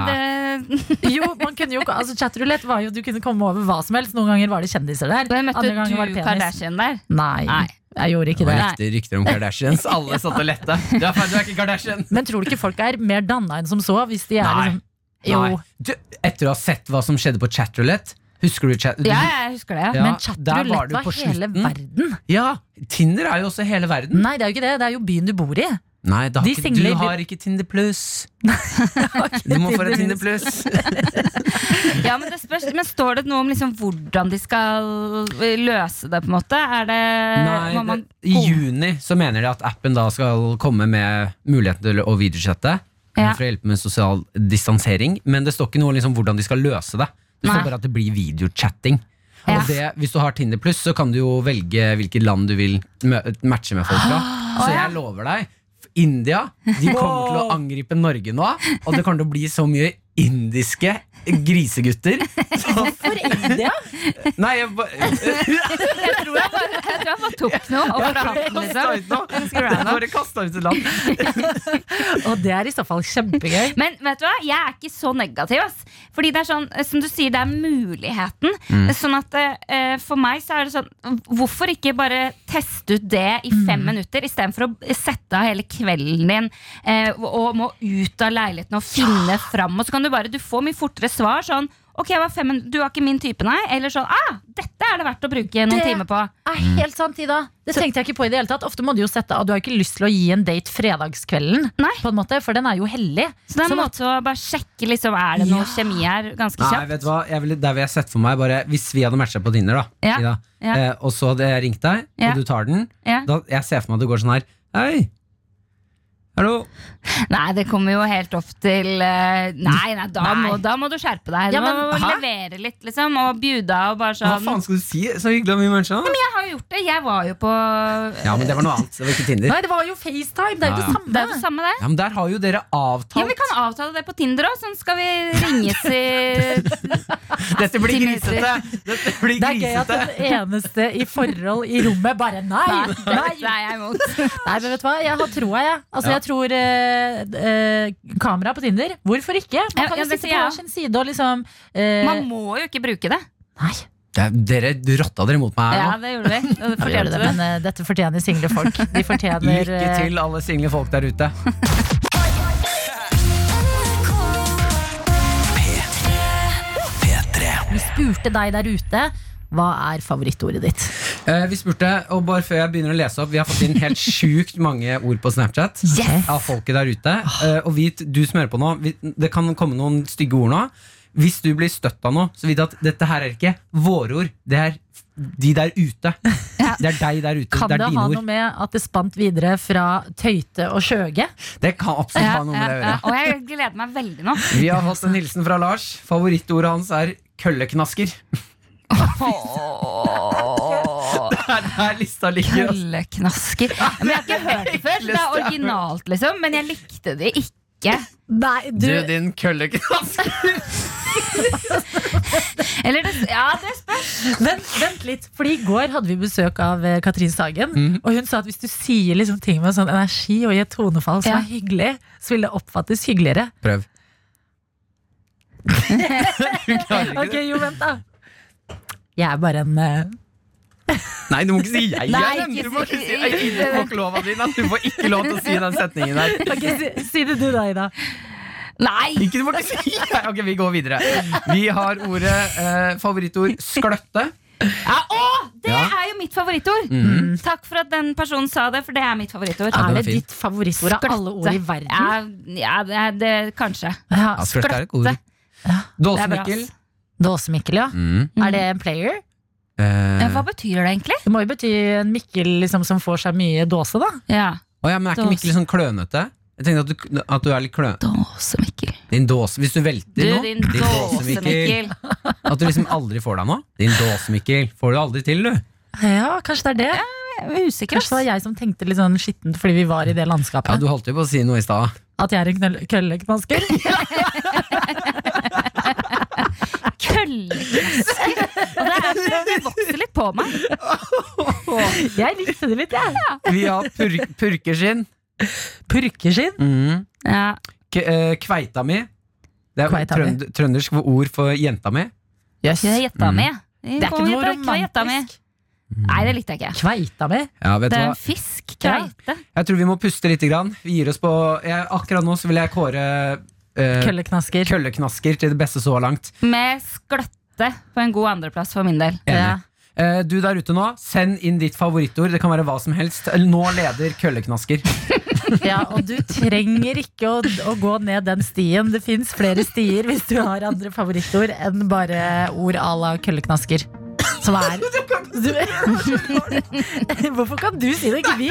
Speaker 7: det
Speaker 3: (laughs) Jo, man kunne jo, altså chatroulette var jo Du kunne komme over hva som helst. Noen ganger var det kjendiser der.
Speaker 7: Jeg møtte
Speaker 3: andre ganger var
Speaker 7: du
Speaker 3: det penis.
Speaker 7: Kardashian der.
Speaker 3: Nei,
Speaker 7: Nei.
Speaker 3: jeg gjorde
Speaker 4: Det
Speaker 3: ikke
Speaker 4: var
Speaker 3: det.
Speaker 4: rykter, rykter
Speaker 7: (laughs)
Speaker 4: om Kardashians. Alle satt og lette. Du er, feil, du er ikke Kardashian.
Speaker 3: Men tror du ikke folk er mer danna enn som så? Hvis de er
Speaker 4: Nei.
Speaker 3: liksom Jo.
Speaker 4: Nei. Du, etter å ha sett hva som skjedde på chatroulette Husker du chat...
Speaker 7: Ja, jeg husker det. Ja.
Speaker 4: Ja,
Speaker 3: Men
Speaker 4: der var
Speaker 3: chatroulette
Speaker 4: du
Speaker 3: var,
Speaker 4: på
Speaker 3: hele
Speaker 4: slutten.
Speaker 3: verden.
Speaker 4: Ja, Tinder er jo også hele verden.
Speaker 3: Nei, det er jo ikke det. Det er jo byen du bor i.
Speaker 4: Nei, da
Speaker 3: Mm.
Speaker 4: har
Speaker 3: De
Speaker 4: ikke,
Speaker 3: singler-
Speaker 4: du har ikke Tinder
Speaker 3: (laughs)
Speaker 4: pluss. Du må få deg Tinder pluss.
Speaker 7: Ja, men, det spørs, men står det noe om liksom hvordan de skal eh, løse det, på en måte? Er det Eh, må
Speaker 4: Nei,
Speaker 7: man,
Speaker 4: det- I juni så mener de at appen da skal komme med muligheten til å videochatte.
Speaker 7: Ja.
Speaker 4: For å hjelpe med sosial distansering. Men det står ikke noe om liksom hvordan de skal løse det. Det
Speaker 7: Nei.
Speaker 4: står bare at det blir videochatting.
Speaker 7: Ja.
Speaker 4: Og det, hvis du har Tinder Pluss, så kan du jo velge hvilket land du vil mø- matche med folk fra.
Speaker 7: (gasps)
Speaker 4: Så jeg lover deg, India de kommer til å angripe Norge nå. Og det kommer til å bli så mye indiske
Speaker 7: (laughs)
Speaker 4: grisegutter. Hvorfor India? Nei, jeg
Speaker 7: (laughs)
Speaker 4: bare
Speaker 7: jeg, tror jeg, bare, (laughs) jeg tror jeg bare tok noe og pratet, liksom. Ganske random.
Speaker 4: Bare kasta ut et land.
Speaker 3: Og det er i så fall kjempegøy.
Speaker 7: Men vet du hva, jeg er ikke så negativ. Ass. Fordi det er sånn, eh, som du sier, det er muligheten. Sånn at eh, For meg så er det sånn Hvorfor ikke bare teste ut det i fem minutter istedenfor å sette av hele kvelden din eh, og- og må ut av leiligheten og finne fram? Og så kan du bare Du får mye fortere svar. Sånn Ok, det var fem min- Du var ikke min type, nei? Eller sånn Ah, dette er det verdt å bruke noen
Speaker 3: Det-
Speaker 7: timer på.
Speaker 3: Er
Speaker 4: Mm.
Speaker 3: helt sant, Ida. Det tenkte jeg ikke på i det hele tatt. Ofte må du jo sette av. Du har jo ikke lyst til å gi en date fredagskvelden,
Speaker 7: Nei.
Speaker 3: på en måte, for den er jo hellig.
Speaker 7: Så det er en
Speaker 3: Sånn at-
Speaker 7: måte å bare sjekke liksom, Er det noe
Speaker 3: Ja.
Speaker 7: kjemi her. Ganske
Speaker 4: Nei,
Speaker 7: kjapt.
Speaker 4: vet du hva? Jeg ville- der vil jeg sett for meg bare, Hvis vi hadde matcha på Tinder, da,
Speaker 7: Ja,
Speaker 4: Ida,
Speaker 7: ja.
Speaker 4: Eh, og så hadde jeg ringt deg,
Speaker 7: Ja.
Speaker 4: og du tar den
Speaker 7: Ja.
Speaker 4: da, Jeg ser for meg at det går sånn her Hei! Hallo!
Speaker 7: Nei, det kommer jo helt opp til eh, Nei, nei, da,
Speaker 3: Nei.
Speaker 7: Må, da må du skjerpe deg. Du
Speaker 3: Ja, men-
Speaker 7: må
Speaker 4: Hæ?
Speaker 7: levere litt, liksom. Og bjuda og bare
Speaker 4: Hva
Speaker 7: sånn.
Speaker 4: faen skal du si? Så hyggelig at vi matcha.
Speaker 7: Jeg har jo gjort det. Jeg var jo på
Speaker 4: Ja, men det var noe annet. Det var ikke Tinder.
Speaker 3: Nei, det var jo FaceTime! Det er jo
Speaker 4: Ja,
Speaker 3: det
Speaker 4: ja.
Speaker 3: samme.
Speaker 7: Det er jo det samme, det.
Speaker 4: Ja, men Der har jo dere
Speaker 7: Ja,
Speaker 4: avtalt.
Speaker 7: Vi kan avtale det på Tinder òg, sånn skal vi ringes (laughs) i
Speaker 4: Dette blir
Speaker 7: Tinder.
Speaker 4: grisete! Dette blir
Speaker 3: Det er gøy at
Speaker 4: grisete.
Speaker 3: den eneste i forhold i rommet bare nei!
Speaker 7: Nei,
Speaker 3: Nei,
Speaker 7: det er jeg imot.
Speaker 3: nei men vet du hva? Jeg har troa, jeg. Altså,
Speaker 4: Ja.
Speaker 3: jeg tror eh, eh, kamera på Tinder. Hvorfor ikke? Man
Speaker 7: Ja,
Speaker 3: kan
Speaker 7: ja,
Speaker 3: jo
Speaker 7: det
Speaker 3: sitte på
Speaker 7: sier jeg.
Speaker 3: hver sin side og liksom eh,
Speaker 7: Man må jo ikke bruke det.
Speaker 3: Nei.
Speaker 4: Det er- Dere rotta dere mot meg
Speaker 7: Ja,
Speaker 4: her nå.
Speaker 7: det gjorde vi. Og det
Speaker 3: Vi gjør
Speaker 7: fortjente
Speaker 3: det,
Speaker 7: du.
Speaker 3: men eh, dette fortjener single folk. De fortjener
Speaker 4: Lykke
Speaker 3: eh,
Speaker 4: til, alle single folk der ute.
Speaker 3: Vi spurte deg der ute. Hva er favorittordet ditt?
Speaker 4: Eh, vi spurte, og bare før jeg begynner å lese opp Vi har fått inn
Speaker 3: (laughs)
Speaker 4: helt sjukt mange ord på Snapchat
Speaker 3: Yes. Ah.
Speaker 4: Av folket der ute Eh, Og vit, du som hører på nå vi- Det kan komme noen stygge ord nå Hvis du blir støtt av nå, så vit at Dette her er ikke våre ord Det er de der
Speaker 3: (laughs)
Speaker 4: ute Det er deg der ute,
Speaker 3: Kan
Speaker 4: det
Speaker 3: det,
Speaker 4: er
Speaker 3: ha
Speaker 4: dine ord
Speaker 3: noe med at det spant videre fra Tøyte og Skjøge?
Speaker 4: Det kan absolutt
Speaker 7: Ja,
Speaker 4: ha noe med
Speaker 7: ja,
Speaker 4: det å gjøre
Speaker 7: ja. Og jeg gleder meg veldig nå. (laughs)
Speaker 4: Vi har fått en hilsen fra Lars Favorittordet hans er kølleknasker
Speaker 7: Åh.
Speaker 4: Det er (laughs) der lista ligger altså.
Speaker 7: (laughs) Kølleknasker. Men jeg har ikke hørt det før, så det er originalt, liksom. Men jeg likte det ikke. ikke.
Speaker 3: Nei,
Speaker 4: Du,
Speaker 3: du,
Speaker 4: din kølleknask!
Speaker 7: Eller det, ja, det spørs.
Speaker 3: vent, vent litt. Fordi I går hadde vi besøk av eh, Katrin Sagen.
Speaker 4: Mhm.
Speaker 3: Og hun sa at hvis du sier liksom ting med sånn energi og i et tonefall som
Speaker 7: Ja.
Speaker 3: er hyggelig, så vil det oppfattes hyggeligere.
Speaker 7: (laughs)
Speaker 4: Prøv. Klarer ikke
Speaker 3: Ok,
Speaker 4: det.
Speaker 3: jo, vent da Jeg er bare en eh,
Speaker 4: Nei, du må ikke si jeg
Speaker 7: Nei,
Speaker 4: igjen!
Speaker 7: ikke
Speaker 4: Du må ikke
Speaker 7: si-
Speaker 4: si Nei, Du får ikke lov av din, da. Du får ikke lov til å si den setningen der.
Speaker 3: Ok, si, si det du da, Ida
Speaker 7: Nei!
Speaker 4: Ikke, du må ikke si Nei, Ok, vi går videre. Vi har ordet eh, favorittord skløtte.
Speaker 7: Ja, å, det
Speaker 4: Ja. Mm.
Speaker 7: er jo mitt favorittord! Takk for at den personen sa det, for det er mitt favorittord.
Speaker 4: Ja,
Speaker 3: Er
Speaker 4: den
Speaker 3: det
Speaker 4: var fin.
Speaker 3: ditt favorittord av alle ord i verden?
Speaker 7: Ja, ja det, er- det, kanskje.
Speaker 3: Ja,
Speaker 4: Ja, skløtte er et ord.
Speaker 7: skløtte. Det er bra,
Speaker 4: Dåsemikkel.
Speaker 7: ass.
Speaker 3: Dåsemikkel, ja Er det en player?
Speaker 4: Eh,
Speaker 7: Ja, Hva betyr det egentlig?
Speaker 3: Det må jo bety en Mikkel liksom, som får seg mye dåse da
Speaker 7: Ja,
Speaker 4: Å ja, men er ikke
Speaker 7: Dås.
Speaker 4: Mikkel litt sånn klønete? Jeg tenkte at du, at du er litt klønete.
Speaker 7: Dåse-Mikkel.
Speaker 4: Din dåse, hvis du velter
Speaker 7: Du,
Speaker 4: nå
Speaker 7: din dåse-Mikkel.
Speaker 4: At du liksom aldri får deg nå. Din dåse-Mikkel får du aldri til, du.
Speaker 3: Ja, kanskje det er det
Speaker 7: Jeg er usikker,
Speaker 3: Kanskje det var
Speaker 7: ass.
Speaker 3: jeg som tenkte litt sånn skittent Fordi vi var i det
Speaker 4: Ja,
Speaker 3: landskapet
Speaker 4: du holdt jo på å si noe i stad.
Speaker 3: At jeg er en knøll- kølleknasker
Speaker 7: Kølleknasker. Og det er for det vokser litt på meg.
Speaker 3: Jeg likte det litt, jeg
Speaker 4: Vi har pur purkeskinn.
Speaker 3: Purkeskinn
Speaker 4: Mhm.
Speaker 7: Ja.
Speaker 4: K eh, kveita mi. Det er
Speaker 3: Kveita mi.
Speaker 4: trønd trøndersk ord for jenta mi.
Speaker 3: yes.
Speaker 7: Jeg gjetta
Speaker 4: Mm.
Speaker 7: med.
Speaker 3: Det er ikke noe
Speaker 7: Med.
Speaker 3: romantisk
Speaker 7: Nei, det likte jeg ikke.
Speaker 3: Kveita mi
Speaker 4: Ja, vet
Speaker 7: Det
Speaker 4: du
Speaker 7: er
Speaker 4: hva?
Speaker 7: en fisk.
Speaker 3: Ja.
Speaker 7: Kveite.
Speaker 4: Jeg tror vi må puste litt. Grann. Vi gir oss på jeg, Akkurat nå så vil jeg kåre eh,
Speaker 3: Kølleknasker
Speaker 4: kølleknasker til det beste så langt.
Speaker 7: Med skløtte på en god andreplass for min del.
Speaker 3: Ja.
Speaker 4: Eh, du der ute nå, send inn ditt favorittord. Det kan være hva som helst. Nå leder kølleknasker.
Speaker 3: Ja, og du trenger ikke å, å gå ned den stien. Det fins flere stier hvis du har andre favorittord enn bare ord à la kølleknasker. Som er (laughs) du, Hvorfor kan du (laughs) si det, ikke vi?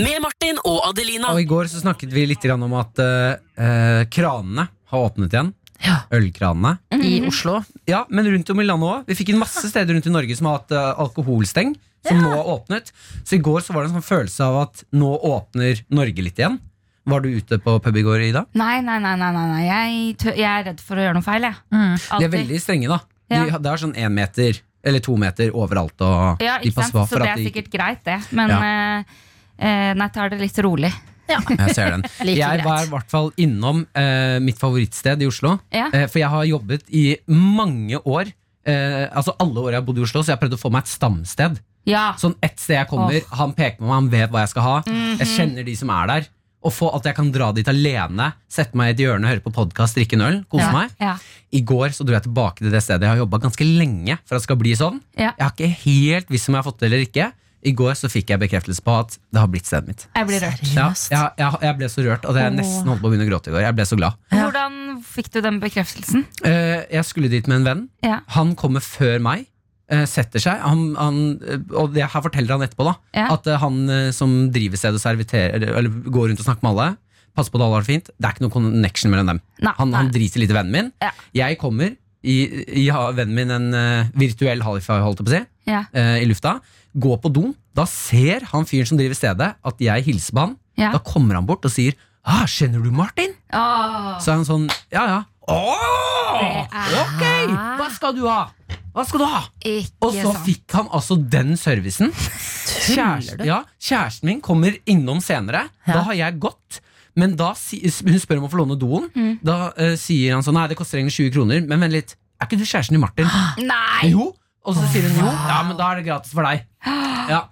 Speaker 2: Med Martin og Adelina.
Speaker 4: Og i går så snakket vi litt grann om at eh, eh, kranene har åpnet igjen.
Speaker 3: Ja.
Speaker 4: Ølkranene.
Speaker 3: I Oslo.
Speaker 4: Ja, men rundt om i landet òg. Vi fikk en masse steder rundt i Norge som har hatt eh, alkoholsteng, som nå har åpnet. Så i går så var det en sånn følelse av at nå åpner Norge litt igjen. Var du ute på pub i går, Ida?
Speaker 7: Nei, nei, nei, nei, nei, nei. Jeg, tø jeg er redd for å gjøre noe feil. Jeg.
Speaker 4: Mm. De er
Speaker 7: Alltid.
Speaker 4: veldig strenge, da. De,
Speaker 7: Ja.
Speaker 4: Det er sånn én meter eller to meter overalt. Og
Speaker 7: Ja,
Speaker 4: de
Speaker 7: ikke
Speaker 4: passer
Speaker 7: sant?
Speaker 4: på
Speaker 7: Så
Speaker 4: for
Speaker 7: det
Speaker 4: at
Speaker 7: er
Speaker 4: de
Speaker 7: sikkert greit, det. Men
Speaker 4: Ja.
Speaker 7: eh, eh, nei, tar det litt rolig.
Speaker 4: Jeg ser
Speaker 7: (laughs)
Speaker 4: den.
Speaker 3: Like
Speaker 4: jeg
Speaker 3: greit.
Speaker 4: var i hvert fall innom eh, mitt favorittsted i Oslo.
Speaker 7: Ja.
Speaker 4: Eh, for jeg har jobbet i mange år. Eh, altså Alle år jeg har bodd i Oslo, så jeg har prøvd å få meg et stamsted.
Speaker 7: Ja.
Speaker 4: Sånn ett sted jeg kommer, Han peker på meg, han vet hva jeg skal ha.
Speaker 7: Mhm.
Speaker 4: Jeg kjenner de som er der. Og få at jeg kan dra dit alene, sette meg i et hjørne, høre på podkast, drikke en øl. Kose
Speaker 7: ja.
Speaker 4: meg
Speaker 7: Ja.
Speaker 4: I går så dro jeg tilbake til det stedet jeg har jobba ganske lenge for at det skal bli sånn.
Speaker 7: Ja.
Speaker 4: Jeg har ikke helt visst om jeg har fått det eller ikke. I går så fikk jeg bekreftelse på at det har blitt stedet mitt.
Speaker 7: Jeg blir rørt.
Speaker 4: Ja, jeg, jeg, jeg ble så rørt at jeg
Speaker 7: Åh.
Speaker 4: nesten holdt på å begynne å gråte i går. Jeg ble så glad.
Speaker 7: Hvordan fikk du den bekreftelsen?
Speaker 4: Eh, jeg skulle dit med en venn.
Speaker 7: Ja.
Speaker 4: Han kommer før meg. eh, setter seg. Han, han, eh, og det her forteller han etterpå, da.
Speaker 7: Ja.
Speaker 4: At eh, han eh, som driver stedet og serviterer, eller, eller går rundt og snakker med alle, passer på at alle har det fint, det er ikke noen connection mellom dem.
Speaker 7: Nei,
Speaker 4: han, han
Speaker 7: nei.
Speaker 4: driter litt i vennen min.
Speaker 7: Ja.
Speaker 4: Jeg kommer, gir ja, vennen min en eh, virtuell high-five, holdt jeg på å si,
Speaker 7: Ja.
Speaker 4: eh, i lufta. Gå på do. Da ser han fyren som driver stedet, at jeg hilser på han.
Speaker 7: Ja.
Speaker 4: Da kommer han bort og sier ah, 'Kjenner du Martin?'
Speaker 7: Åh,
Speaker 4: Så er han sånn Ja, ja.
Speaker 7: Det
Speaker 4: Åh,
Speaker 7: er-
Speaker 4: ok! Hva skal du ha? Hva skal du ha?
Speaker 7: ikke
Speaker 4: Og så
Speaker 7: sant.
Speaker 4: fikk han altså den servicen. Kjæresten, ja, kjæresten min kommer innom senere. Da har jeg gått. Men da, si- hun spør om å få låne doen.
Speaker 7: Mm.
Speaker 4: Da eh, sier han sånn Nei, det koster egentlig 20 kroner. Men vent litt, er ikke du kjæresten til
Speaker 7: (gasps)
Speaker 4: Martin?
Speaker 7: sånn. Nei!
Speaker 4: Jo. Og så sier hun jo. Ja, men da er det gratis for deg. Ja,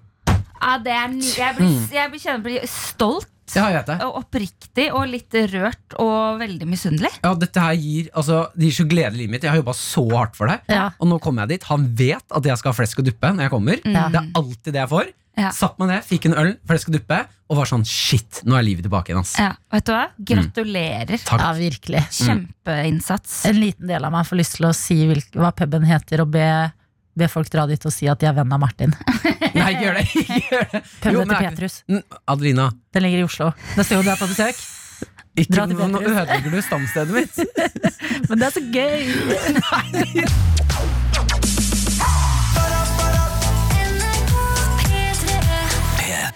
Speaker 7: Ja, det er ny jeg blir,
Speaker 4: Mm.
Speaker 7: jeg blir, kjenner, blir stolt
Speaker 4: ja jeg vet det.
Speaker 7: og oppriktig og litt rørt og veldig misunnelig.
Speaker 4: Ja, dette her gir, altså, det gir så glede i livet mitt. Jeg har jobba så hardt for det.
Speaker 3: Ja.
Speaker 4: Og nå kommer jeg dit. Han vet at jeg skal ha flesk og duppe når jeg kommer. Det er alltid det jeg får.
Speaker 7: Ja.
Speaker 4: Satt meg ned, fikk en øl, flesk og duppe, og var sånn shit, nå er livet tilbake
Speaker 7: (laughs)
Speaker 4: igjen. ass.
Speaker 7: Ja, vet du hva? Gratulerer.
Speaker 3: Ja, virkelig.
Speaker 4: Mm.
Speaker 7: Kjempeinnsats.
Speaker 3: En liten del av meg får lyst til å si hvilk, hva puben heter, og be, be folk dra dit og si at de er venn av Martin.
Speaker 4: Nei, ikke gjør det! (laughs) Ikke gjør det. Jo,
Speaker 3: (laughs) Puben
Speaker 4: men
Speaker 3: til
Speaker 4: er ikke-
Speaker 3: Petrus.
Speaker 4: N- Adelina,
Speaker 3: Den ligger i Oslo. Neste gang du er på besøk. Dra
Speaker 4: ikke
Speaker 3: til
Speaker 4: nå nå
Speaker 3: Petrus.
Speaker 4: ødelegger du stamstedet mitt.
Speaker 3: (laughs) Men det er så gøy!
Speaker 10: NRK
Speaker 3: (laughs)
Speaker 10: P3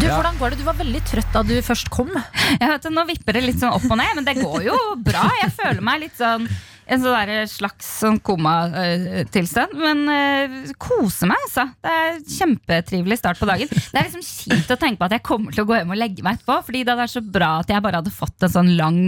Speaker 3: Du, Hvordan går det? Du var veldig trøtt da du først kom.
Speaker 7: Jeg vet, det, nå vipper det litt sånn opp og ned, men det går jo bra. Jeg føler meg litt sånn en sånn der slags sånn komatilstand. Men eh, koser meg, altså. Det er kjempetrivelig start på dagen. Det er liksom kjipt å tenke på at jeg kommer til å gå hjem og legge meg etterpå. Fordi det hadde vært så bra at jeg bare hadde fått en sånn lang,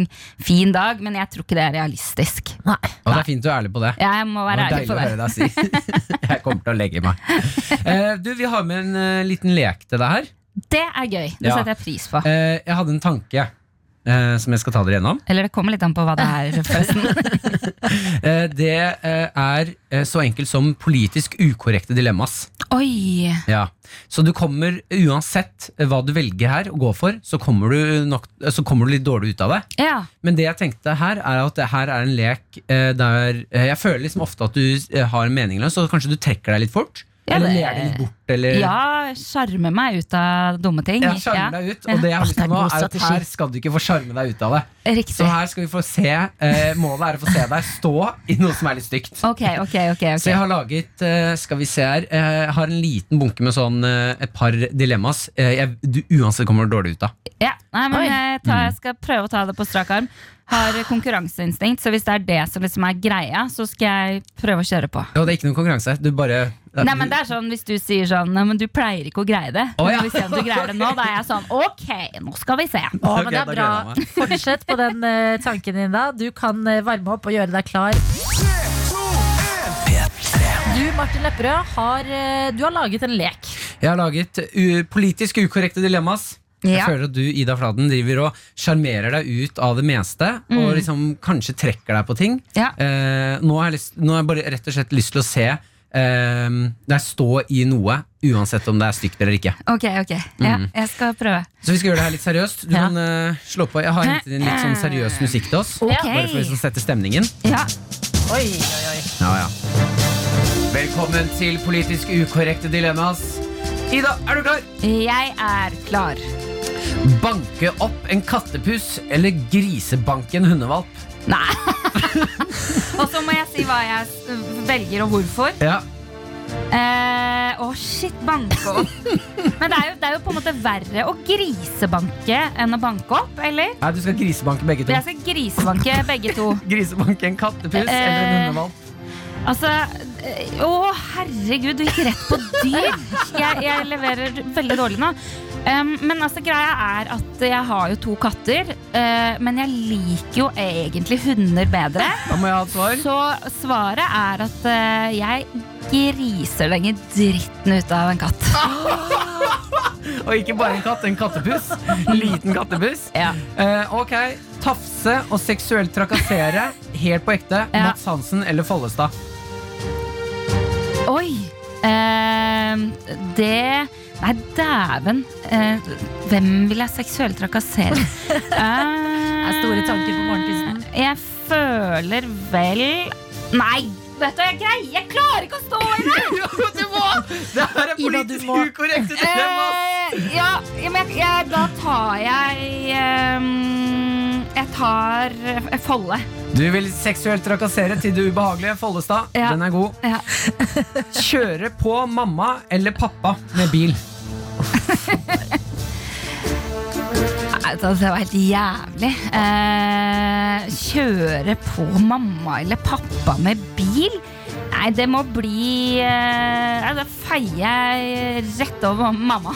Speaker 7: fin dag. Men jeg tror ikke det er realistisk.
Speaker 3: Nei.
Speaker 4: Og det er fint du er ærlig på det.
Speaker 7: Jeg må være
Speaker 4: det
Speaker 7: ærlig på
Speaker 4: var
Speaker 7: det.
Speaker 4: deilig å høre deg si. (laughs) Jeg kommer til å legge meg. Eh, du, Vi har med en eh, liten lek til deg her.
Speaker 7: Det er gøy. Det
Speaker 4: Ja.
Speaker 7: setter jeg pris på.
Speaker 4: Eh, jeg hadde en tanke eh, som jeg skal ta dere gjennom.
Speaker 7: Eller det kommer litt an på hva det er,
Speaker 4: (laughs)
Speaker 7: forresten.
Speaker 4: Eh, det eh, er eh, så enkelt som politisk ukorrekte dilemmas.
Speaker 7: Oi!
Speaker 4: Ja. Så du kommer uansett hva du velger her å gå for, så kommer du, nok, eh, så kommer du litt dårlig ut av det.
Speaker 7: Ja.
Speaker 4: Men det jeg tenkte her, er at det her er en lek eh, der eh, Jeg føler liksom ofte at du eh, har en meningløs, så kanskje du trekker deg litt fort?
Speaker 7: Ja,
Speaker 4: eller
Speaker 7: det-
Speaker 4: ler deg litt bort, eller
Speaker 7: Ja, sjarme meg ut av dumme ting.
Speaker 4: Ja, sjarme deg ut. Og det jeg har
Speaker 3: Åh,
Speaker 4: lyst
Speaker 3: det er
Speaker 4: til nå,
Speaker 3: god
Speaker 4: er at
Speaker 3: strategi.
Speaker 4: her skal du ikke få sjarme deg ut av det.
Speaker 7: Ja, Riktig.
Speaker 4: Så her skal vi få se eh, Målet er å få se deg stå i noe som er litt stygt.
Speaker 7: Ok, ok, ok. ok.
Speaker 4: Så jeg har laget eh, Skal vi se her eh, Jeg har en liten bunke med sånn eh, et par dilemmas eh, jeg, du uansett kommer dårlig ut av.
Speaker 7: Ja, nei, men
Speaker 3: Oi.
Speaker 7: jeg, tar, jeg skal prøve å ta det på strak arm. Har konkurranseinstinkt, så hvis det er det som liksom er greia, så skal jeg prøve å kjøre på.
Speaker 4: Ja, det er ikke noen konkurranse. Du bare
Speaker 7: Nei, men det er sånn Hvis du sier sånn Nei, men du pleier ikke å greie det.
Speaker 4: Å, ja.
Speaker 7: Men Hvis jeg, du greier det nå, da er jeg sånn Ok, nå skal vi se.
Speaker 3: Å, men det er
Speaker 4: Ok, da gleder
Speaker 3: bra.
Speaker 4: jeg meg.
Speaker 3: Fortsett på den eh, tanken din, da. Du kan eh, varme opp og gjøre deg klar. Du, Martin Lepperød, har, eh, du har laget en lek.
Speaker 4: Jeg har laget u politisk ukorrekte dilemmas. Jeg
Speaker 7: Ja.
Speaker 4: føler at du Ida Fladen, driver og sjarmerer deg ut av det meste. Og liksom kanskje trekker deg på ting.
Speaker 7: Mm. Ja.
Speaker 4: Eh, nå, har jeg lyst, nå har jeg bare rett og slett lyst til å se eh, deg stå i noe, uansett om det er stygt eller ikke.
Speaker 7: Ok, ok. Ja, jeg skal prøve.
Speaker 4: Så vi skal gjøre det her litt seriøst. Du
Speaker 3: Ja.
Speaker 4: kan eh, slå på. Jeg har hentet inn litt sånn seriøs musikk til oss.
Speaker 7: Ok.
Speaker 4: Bare for å liksom sette stemningen.
Speaker 7: Ja.
Speaker 3: Oi, oi, oi.
Speaker 4: Ja, ja. Velkommen til Politisk ukorrekte dilemmas. Ida, er du klar?
Speaker 7: Jeg er klar.
Speaker 4: Banke opp en kattepus eller grisebanke en hundevalp?
Speaker 7: Nei. og så må jeg si hva jeg s- velger, og hvorfor.
Speaker 4: Ja,
Speaker 7: Eh, Å, shit, banke opp. Men det er, jo, det er jo på en måte verre å grisebanke enn å banke opp, eller?
Speaker 4: Nei, du skal grisebanke begge to.
Speaker 7: Jeg skal grisebanke begge to.
Speaker 4: Grisebanke en kattepus eller en
Speaker 7: Eh.
Speaker 4: hundevalp?
Speaker 7: Altså, eh, Å, herregud, du gikk rett på dyr! Jeg, jeg leverer veldig dårlig nå. Um, men altså, greia er at jeg har jo to katter, eh, men jeg liker jo egentlig hunder bedre.
Speaker 4: Da må jeg ha et svar.
Speaker 7: Så svaret er at eh, jeg griser lenger dritten ut av en katt.
Speaker 4: Og ikke bare en katt, en kattepus. Liten kattepus.
Speaker 7: Ja.
Speaker 4: Eh, ok, Tafse og seksuelt trakassere helt på ekte.
Speaker 7: Ja.
Speaker 4: Mats Hansen eller Follestad?
Speaker 7: Oi! Eh, det Nei, dæven. Eh, hvem vil jeg seksuelt (laughs) trakassere? Eh,
Speaker 3: er store tanker på morgenkvisten.
Speaker 7: Jeg føler vel Nei! Vet du, jeg greier Jeg klarer ikke å stå i (laughs) det!
Speaker 4: Det her er politisk ukorrekt!
Speaker 7: Eh, ja, ja, men jeg, jeg, da tar jeg eh, Jeg tar eh, Folle.
Speaker 4: Du vil seksuelt trakassere til det ubehagelige. Follestad,
Speaker 7: Ja.
Speaker 4: den er god.
Speaker 7: Ja.
Speaker 4: Kjøre på mamma eller pappa med bil.
Speaker 7: Nei, altså, Det var helt jævlig. Eh, kjøre på mamma eller pappa med bil? Nei, det må bli eh, nei, Da feier jeg rett over mamma.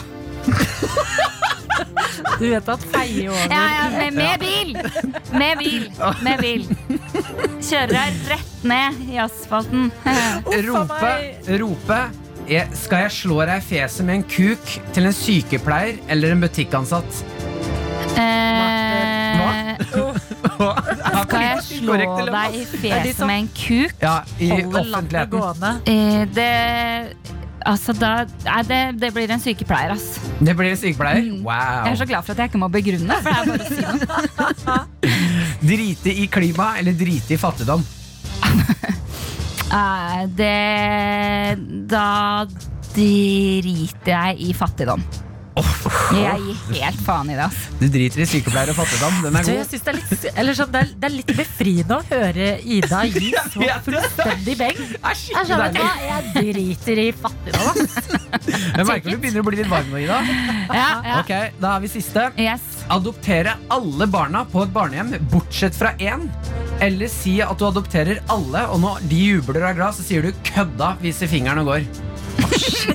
Speaker 3: Du vet at feier over
Speaker 7: Ja, ja, med, med bil! Med bil. Med bil. Kjører deg rett ned i asfalten.
Speaker 4: rope, rope jeg, Skal jeg slå deg i fjeset med en kuk Til en sykepleier eller en
Speaker 7: (laughs)
Speaker 4: butikkansatt?
Speaker 7: Eh, skal jeg slå deg i
Speaker 3: Er de
Speaker 7: fjeset
Speaker 3: som-
Speaker 7: med en kuk?
Speaker 4: Ja, i
Speaker 3: Holder landet
Speaker 4: offentligheten
Speaker 3: gående.
Speaker 7: Eh, det Altså, da Nei, det, det blir en sykepleier, ass.
Speaker 4: Det blir en sykepleier?
Speaker 7: Mm. Jeg er
Speaker 4: Wow
Speaker 7: så glad for at jeg ikke må begrunne. For det er bare å si noe.
Speaker 4: Drite i klima eller drite i fattigdom?
Speaker 7: Eh, det, da driter jeg i fattigdom. Jeg gir helt faen i det. ass.
Speaker 4: Du driter i sykepleier og fattigdom. Den er
Speaker 3: Du, jeg
Speaker 4: god. (laughs)
Speaker 3: synes det, er litt, eller sånn, det, er, det er litt befriende å høre
Speaker 4: (laughs)
Speaker 3: Ida gi så fullstendig beng. Jeg, sa, vet du hva, jeg driter i fattigdom. ass.
Speaker 4: Jeg merker du begynner å bli litt varm nå, Ida.
Speaker 7: Ja, ja.
Speaker 4: Ok, Da er vi siste.
Speaker 7: Yes.
Speaker 4: Adoptere alle barna på et barnehjem, bortsett fra én. Eller si at du adopterer alle, og når de jubler og er glad, så sier du 'kødda', viser fingeren og går.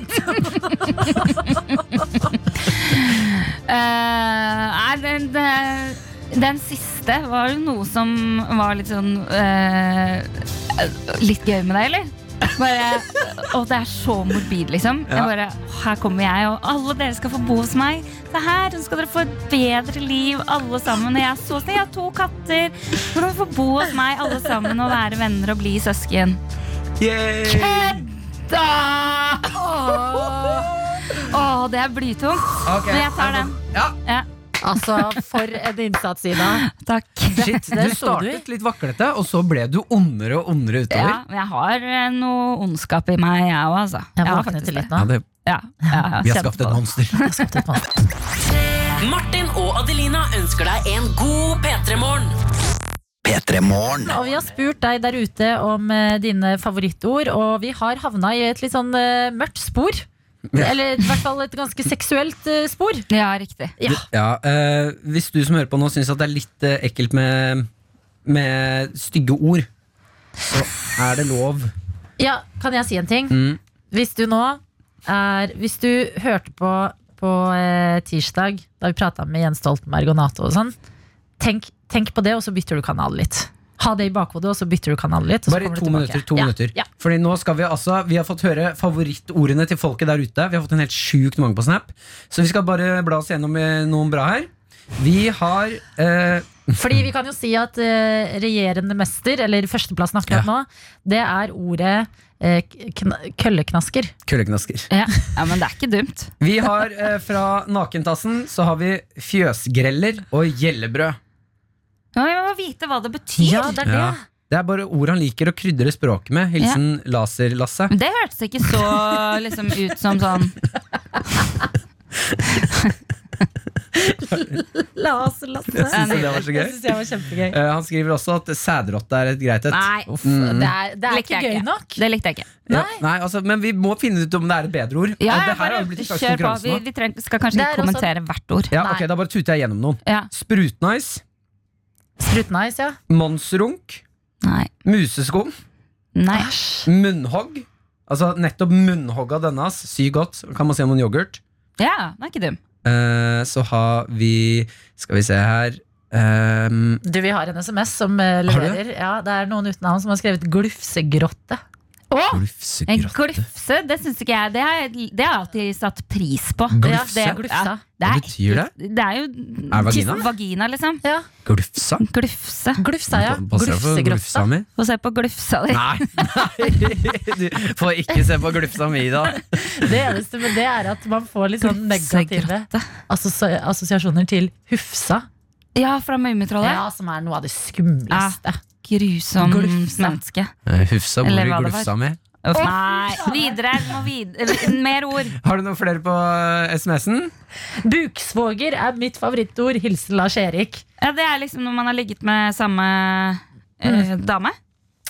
Speaker 7: Eh, nei, den, den, den siste var jo noe som var litt sånn eh, Litt gøy med deg, eller? Bare, og det er så morbid, liksom. Jeg bare, her kommer jeg, og alle dere skal få bo hos meg. Se her, nå skal dere få et bedre liv, alle sammen. Og jeg er så snill, jeg har to katter. Nå kan dere få bo hos meg, alle sammen, og være venner og bli søsken. Kødda! Åh, Åh, det er blytungt.
Speaker 4: Ok,
Speaker 7: Men jeg tar den.
Speaker 4: Ja,
Speaker 7: Ja,
Speaker 3: Altså, for en innsats, Ida.
Speaker 7: takk.
Speaker 4: shit,
Speaker 3: der sto du.
Speaker 4: Du startet litt vaklete, og så ble du ondere og ondere utover.
Speaker 7: Ja, men jeg har eh, noe ondskap i meg, jeg òg, altså.
Speaker 3: Jeg
Speaker 7: har
Speaker 3: våknet
Speaker 7: faktisk
Speaker 3: til litt
Speaker 7: det.
Speaker 3: nå.
Speaker 4: det,
Speaker 7: Ja, ja, jeg har
Speaker 4: vi har
Speaker 7: kjent
Speaker 4: skapt et
Speaker 7: på det.
Speaker 4: monster.
Speaker 7: (laughs)
Speaker 2: Martin og Adelina ønsker deg en god P3-morgen.
Speaker 3: Og vi har spurt deg der ute om eh, dine favorittord, og vi har havna i et litt sånn eh, mørkt spor. Eller i hvert fall et ganske seksuelt eh, spor.
Speaker 7: Ja, riktig.
Speaker 4: Ja, eh, Hvis du som hører på nå syns at det er litt eh, ekkelt med, med stygge ord, så er det lov.
Speaker 3: Ja, kan jeg si en ting?
Speaker 4: Mm.
Speaker 3: Hvis du nå er Hvis du hørte på på eh, tirsdag, da vi prata med Jens Stoltenberg og Nato og sånn, tenk, tenk på det, og så bytter du kanal litt. Ha det i bakhodet, og så bytter du kanal litt. Og så
Speaker 4: Bare
Speaker 3: kommer du tilbake.
Speaker 4: to minutter. to
Speaker 3: ja.
Speaker 4: minutter
Speaker 3: Ja.
Speaker 4: Fordi nå skal Vi altså Vi har fått høre favorittordene til folket der ute. Vi har fått en helt sjukt mange på Snap. Så vi skal bare bla oss gjennom eh, noen bra her. Vi har eh,
Speaker 3: Fordi vi kan jo si at eh, regjerende mester, eller førsteplassen akkurat nå, det er ordet eh, kn kølleknasker.
Speaker 4: Kølleknasker.
Speaker 7: Ja. ja, Men det er ikke dumt.
Speaker 4: Vi har eh, Fra nakentassen så har vi fjøsgreller og gjellebrød.
Speaker 7: Ja, men Jeg må vite hva det betyr.
Speaker 3: Ja, det er det.
Speaker 4: Ja. Det er bare ord han liker å krydre språket med. Hilsen Laser-Lasse.
Speaker 7: Men Det hørtes ikke så liksom, ut som sånn
Speaker 3: La oss lasse.
Speaker 4: Jeg (laughs) synes det var så gøy.
Speaker 3: Det synes jeg var kjempegøy.
Speaker 4: Eh, han skriver også at sædrotte er et greit et.
Speaker 7: Nei,
Speaker 4: Uff.
Speaker 3: Det er, det er
Speaker 7: likte
Speaker 3: ikke
Speaker 7: jeg
Speaker 3: gøy nok.
Speaker 7: Det likte jeg ikke.
Speaker 4: Ja, nei, altså, men vi må finne ut om det er et bedre ord.
Speaker 7: Ja,
Speaker 4: Eh, det
Speaker 7: ja,
Speaker 4: her
Speaker 7: bare
Speaker 4: har jo blitt en slags
Speaker 7: kjør på.
Speaker 4: konkurranse
Speaker 7: Vi,
Speaker 4: nå.
Speaker 7: vi trenger, skal kanskje
Speaker 3: Det
Speaker 7: ikke
Speaker 3: er også-
Speaker 7: kommentere hvert ord.
Speaker 4: Ja, ok, Da bare tuter jeg gjennom noen.
Speaker 7: Ja.
Speaker 4: Sprutnice,
Speaker 3: Sprutnice, ja.
Speaker 4: monsrunk,
Speaker 7: Nei.
Speaker 4: museskum,
Speaker 7: Nei.
Speaker 4: munnhogg. Altså nettopp munnhogg av denne. ass. Sy godt. Kan man se om en yoghurt.
Speaker 7: Ja, den er ikke dum.
Speaker 4: Eh, så har vi Skal vi se her Ehm,
Speaker 3: Du, vi har en SMS som eh,
Speaker 4: Har du
Speaker 3: leverer. Ja, det er noen uten navn som har skrevet 'glufsegrotte'.
Speaker 7: Å! En
Speaker 4: Glufsegrotte.
Speaker 7: glufse, det syns ikke jeg. Det har jeg det har jeg alltid satt pris på.
Speaker 3: Ja,
Speaker 4: Glufse?
Speaker 3: det er glufsa.
Speaker 7: Det
Speaker 4: Hva
Speaker 7: er
Speaker 4: betyr det?
Speaker 7: ekkelt. Det er jo
Speaker 4: Er vagina?
Speaker 7: Tissen- vagina, liksom.
Speaker 3: Ja.
Speaker 4: Glufsa?
Speaker 7: Glufse.
Speaker 3: Glufsa, ja.
Speaker 4: Passer det for
Speaker 3: Glufsegrotta.
Speaker 4: glufsa
Speaker 7: (laughs)
Speaker 4: mi?
Speaker 7: Få se på glufsa di.
Speaker 4: Nei, nei! (laughs) Du får ikke se på glufsa mi, da.
Speaker 3: Det eneste med det er at man får litt sånn negative
Speaker 7: Glufsegrotte.
Speaker 3: assosia- assosiasjoner til Hufsa,
Speaker 7: Ja, fra Mummitrollet.
Speaker 3: ja, som er noe av det skumleste.
Speaker 7: Grusomt
Speaker 3: Glufse.
Speaker 7: menneske.
Speaker 4: Hufsa
Speaker 7: Eller hva det var.
Speaker 4: mi.
Speaker 7: Uff, nei, videre. vi Må videre. Mer ord.
Speaker 4: Har du noen flere på eh, SMS-en?
Speaker 3: Buksvoger er mitt favorittord. Hilsen Lars Erik.
Speaker 7: Ja, det er liksom når man har ligget med samme eh,
Speaker 3: Mm.
Speaker 7: dame.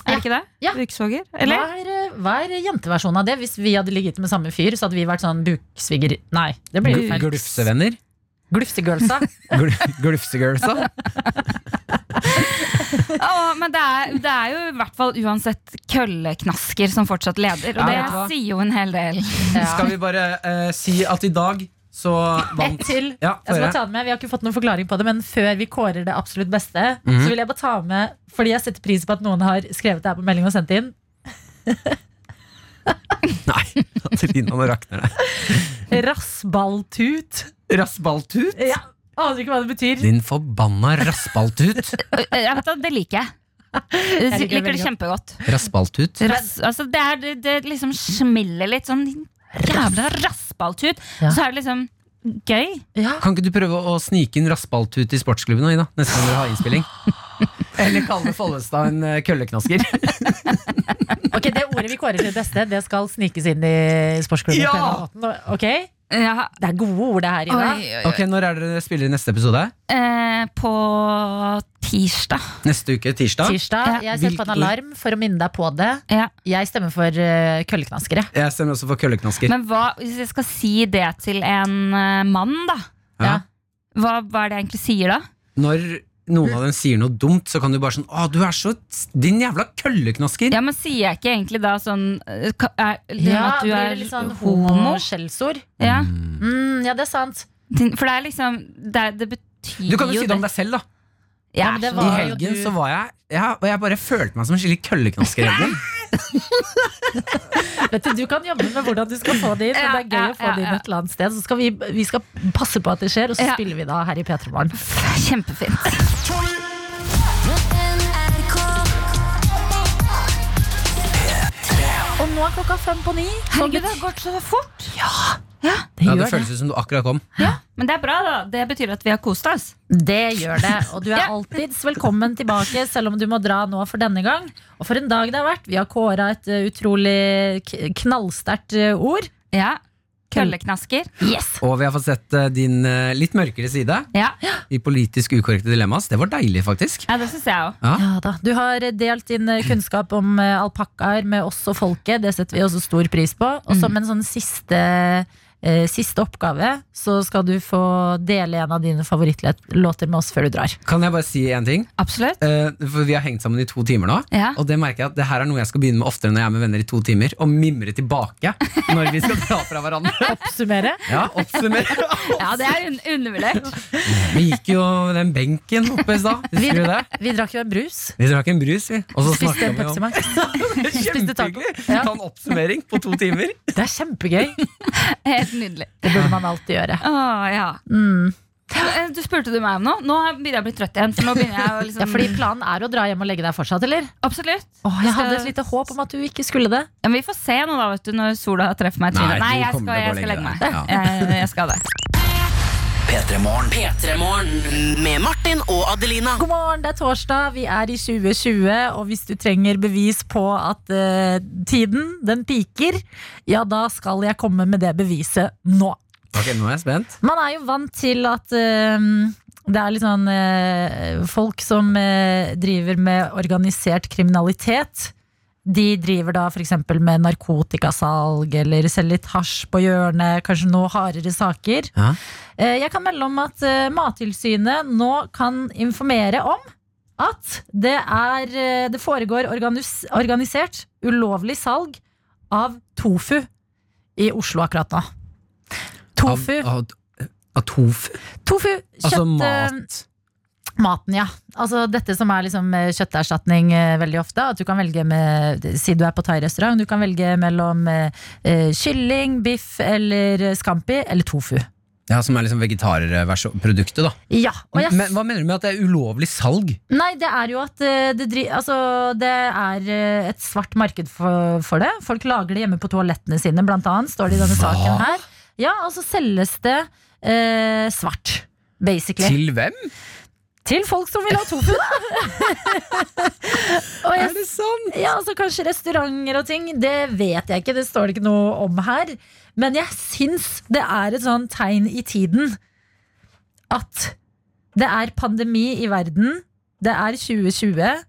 Speaker 7: Er det ikke det?
Speaker 3: Ja.
Speaker 7: Buksvoger?
Speaker 3: Hva
Speaker 7: Eller?
Speaker 3: er, eh, hva er jenteversjonen av det? Hvis vi hadde ligget med samme fyr, så hadde vi vært sånn buksviger... Nei, det blir jo feil.
Speaker 4: Glufsevenner?
Speaker 3: Glufsegirlsa.
Speaker 4: Gl- (laughs)
Speaker 3: (laughs)
Speaker 4: Glufsegirlsa?
Speaker 7: Å, men det er, det er jo i hvert fall uansett kølleknasker som fortsatt leder. Og
Speaker 4: Ja,
Speaker 7: det
Speaker 4: vet du hva?
Speaker 7: sier jo en hel
Speaker 3: (laughs)
Speaker 7: del.
Speaker 4: Skal vi bare eh, si at i dag så
Speaker 3: (laughs) Ett
Speaker 4: vant
Speaker 3: til.
Speaker 4: Ja,
Speaker 3: Jeg skal
Speaker 4: få
Speaker 3: bare
Speaker 4: høre.
Speaker 3: ta den med. Vi har ikke fått noen forklaring på det, men før vi kårer det absolutt beste, så vil jeg bare ta med Fordi jeg setter pris på at noen har skrevet det her på melding og sendt inn.
Speaker 4: Nei, (laughs) Adelina, nå rakner det.
Speaker 3: Rassballtut.
Speaker 4: Raspaltut?
Speaker 3: Ja, Aner ikke hva det betyr.
Speaker 4: Din forbanna raspaltut.
Speaker 7: Eh, Jeg vet at det liker jeg.
Speaker 3: liker
Speaker 7: Jeg
Speaker 3: det
Speaker 7: liker det
Speaker 3: veldig
Speaker 7: kjempegodt.
Speaker 4: Raspaltut.
Speaker 7: Rass, altså det, er, det, det liksom smeller litt sånn din jævla raspaltut.
Speaker 3: Ja.
Speaker 7: Så er det liksom gøy.
Speaker 4: Kan ikke du prøve å snike inn raspaltut i sportsklubben nå, Ida? Neste gang dere har
Speaker 3: (laughs)
Speaker 4: innspilling. Eller kalle Follestad en eh, kølleknasker.
Speaker 3: Ok, Det ordet vi kårer til beste, det skal snikes inn i sportsklubben. på
Speaker 4: Ja!
Speaker 3: en eller annen måte. Ok?
Speaker 7: Ja,
Speaker 3: Det er gode ord, det her, Ida.
Speaker 7: oi, oi, oi.
Speaker 4: Ok, Når er det dere spiller i neste episode?
Speaker 7: Eh, på tirsdag.
Speaker 4: Neste uke, tirsdag?
Speaker 3: Tirsdag.
Speaker 7: Ja.
Speaker 3: Jeg setter på en
Speaker 4: Hvilke-
Speaker 3: alarm for å minne deg på det.
Speaker 7: Ja.
Speaker 3: Jeg stemmer for eh, kølleknaskere.
Speaker 4: Jeg stemmer også for kølleknasker.
Speaker 7: Men hva, hvis jeg skal si det til en eh, mann, da,
Speaker 3: Ja.
Speaker 7: hva, hva er det jeg egentlig sier da?
Speaker 4: Når noen av dem sier noe dumt, så kan du bare sånn Å, du er så Din jævla kølleknasker!
Speaker 7: Ja, men Sier jeg ikke egentlig da sånn eh, ka- er,
Speaker 3: Ja,
Speaker 7: at du
Speaker 3: det
Speaker 7: er
Speaker 3: blir litt sånn
Speaker 7: homo?
Speaker 3: homo-skjellsord.
Speaker 7: Ja.
Speaker 3: Mm, ja, det er sant.
Speaker 7: Din- For det er liksom Det, er- det betyr
Speaker 4: Du kan jo si det om
Speaker 7: det.
Speaker 4: deg selv, da.
Speaker 7: Jeg
Speaker 3: Ja,
Speaker 7: er
Speaker 3: men det
Speaker 7: så-
Speaker 4: I
Speaker 3: var jo
Speaker 4: helgen
Speaker 3: du-
Speaker 4: så var jeg ja, Og jeg bare følte meg som en skikkelig kølleknasker. Edvin.
Speaker 3: Vet du, du kan jobbe med hvordan du skal få det inn, men det er gøy
Speaker 7: Ja, ja,
Speaker 3: å få det inn
Speaker 7: ja, ja.
Speaker 3: et eller annet sted. Så skal vi, vi skal passe på at det skjer, og så
Speaker 7: Ja.
Speaker 3: spiller vi da her i P3 Morgen.
Speaker 7: Kjempefint.
Speaker 3: Og nå er klokka fem på ni.
Speaker 7: Herregud, det har gått så fort.
Speaker 3: Det
Speaker 4: Ja,
Speaker 3: gjør
Speaker 4: det
Speaker 3: det.
Speaker 4: føles ut som du akkurat kom.
Speaker 7: Men det er bra, da. Det betyr at vi har kost oss.
Speaker 3: Det gjør det. Og du er alltids velkommen tilbake, selv om du må dra nå for denne gang. Og for en dag det har vært. Vi har kåra et eh, utrolig k- knallsterkt eh, ord.
Speaker 7: Ja. Kølleknasker.
Speaker 3: Yes!
Speaker 4: Og vi har fått sett eh, din eh, litt mørkere side
Speaker 7: Ja,
Speaker 4: i politisk ukorrekte dilemmas. Det var deilig, faktisk.
Speaker 7: ja det syns jeg òg.
Speaker 3: Ja da. Du har delt din eh, kunnskap om eh, alpakkaer med oss og folket. Det setter vi også stor pris på. Og som en sånn siste, eh, siste oppgave så skal du få dele en av dine favorittlåter med oss før du drar.
Speaker 4: Kan jeg bare si én ting?
Speaker 7: Absolutt.
Speaker 4: Eh, for vi har hengt sammen i to timer nå.
Speaker 7: Ja.
Speaker 4: Og det merker jeg at det her er noe jeg skal begynne med oftere når jeg er med venner i to timer. Og mimre tilbake når vi skal (laughs) dra
Speaker 3: (laughs)
Speaker 4: fra hverandre.
Speaker 3: Oppsummere.
Speaker 4: Ja, oppsummere.
Speaker 7: Ja, det er un undervurdert.
Speaker 4: Vi gikk jo den benken oppe i stad. Husker du det?
Speaker 3: Vi drakk jo en brus.
Speaker 4: Vi drakk en brus, vi. Og så
Speaker 3: Spiste
Speaker 4: snakket vi (laughs)
Speaker 3: Pepsi
Speaker 4: om
Speaker 3: Max. Spiste taco.
Speaker 4: Kjempehyggelig!
Speaker 3: Ja.
Speaker 4: Ta en oppsummering på to timer.
Speaker 3: Det er kjempegøy.
Speaker 7: (laughs) Helt nydelig.
Speaker 3: Det burde man alltid gjøre.
Speaker 7: Åh, Ah, ja. Eh, Du spurte du meg om noe. Nå begynner jeg å bli trøtt igjen. For nå begynner (laughs) jeg å liksom
Speaker 3: Ja, fordi planen er å dra hjem og legge deg fortsatt, eller?
Speaker 7: Absolutt.
Speaker 3: Åh, Mm. jeg hadde et lite håp om at du ikke skulle det.
Speaker 7: Ja, men vi får se nå, da, vet du, når sola treffer meg. i trynet.
Speaker 4: Nei,
Speaker 7: Nei
Speaker 4: du
Speaker 7: jeg,
Speaker 4: kommer
Speaker 7: skal, jeg
Speaker 4: til å
Speaker 7: skal legge
Speaker 4: gå
Speaker 7: meg.
Speaker 4: og legge
Speaker 7: Jeg, jeg skal det.
Speaker 2: P3morgen med Martin og Adelina.
Speaker 3: God morgen, det er torsdag, vi er i 2020, og hvis du trenger bevis på at eh, tiden, den piker, ja da skal jeg komme med det beviset nå.
Speaker 4: Ok, nå er jeg spent.
Speaker 3: Man er jo vant til at eh, det er litt sånn eh, folk som eh, driver med organisert kriminalitet. De driver da f.eks. med narkotikasalg eller selger litt hasj på hjørnet. Kanskje noe hardere saker.
Speaker 4: Ja.
Speaker 3: Eh, Jeg kan melde om at eh, Mattilsynet nå kan informere om at det, er, eh, det foregår organis organisert ulovlig salg av tofu i Oslo akkurat nå. Tofu.
Speaker 4: Av, av, av tofu?
Speaker 3: Tofu, kjøtt,
Speaker 4: Altså
Speaker 3: eh,
Speaker 4: mat.
Speaker 3: maten, ja. Altså dette som er liksom eh, kjøtterstatning eh, veldig ofte. At du kan velge med, si du er på thai-restaurant, du kan velge mellom eh, eh, kylling, biff eller eh, scampi eller tofu.
Speaker 4: Ja, Som er liksom vegetarproduktet, da.
Speaker 3: Ja, og jeg,
Speaker 4: Men hva mener du med at det er ulovlig salg?
Speaker 3: Nei, det er jo at eh, det, dri, altså, det er eh, et svart marked for, for det. Folk lager det hjemme på toalettene sine, blant annet, står det i denne saken her. Ja, og så selges det eh, svart, basically.
Speaker 4: Til hvem?
Speaker 3: Til folk som vil ha (laughs) tofu, da! og jeg,
Speaker 4: Er det sant?
Speaker 3: ja, altså Kanskje restauranter og ting. Det vet jeg ikke, det står det ikke noe om her. Men jeg syns det er et sånn tegn i tiden at det er pandemi i verden. Det er 2020.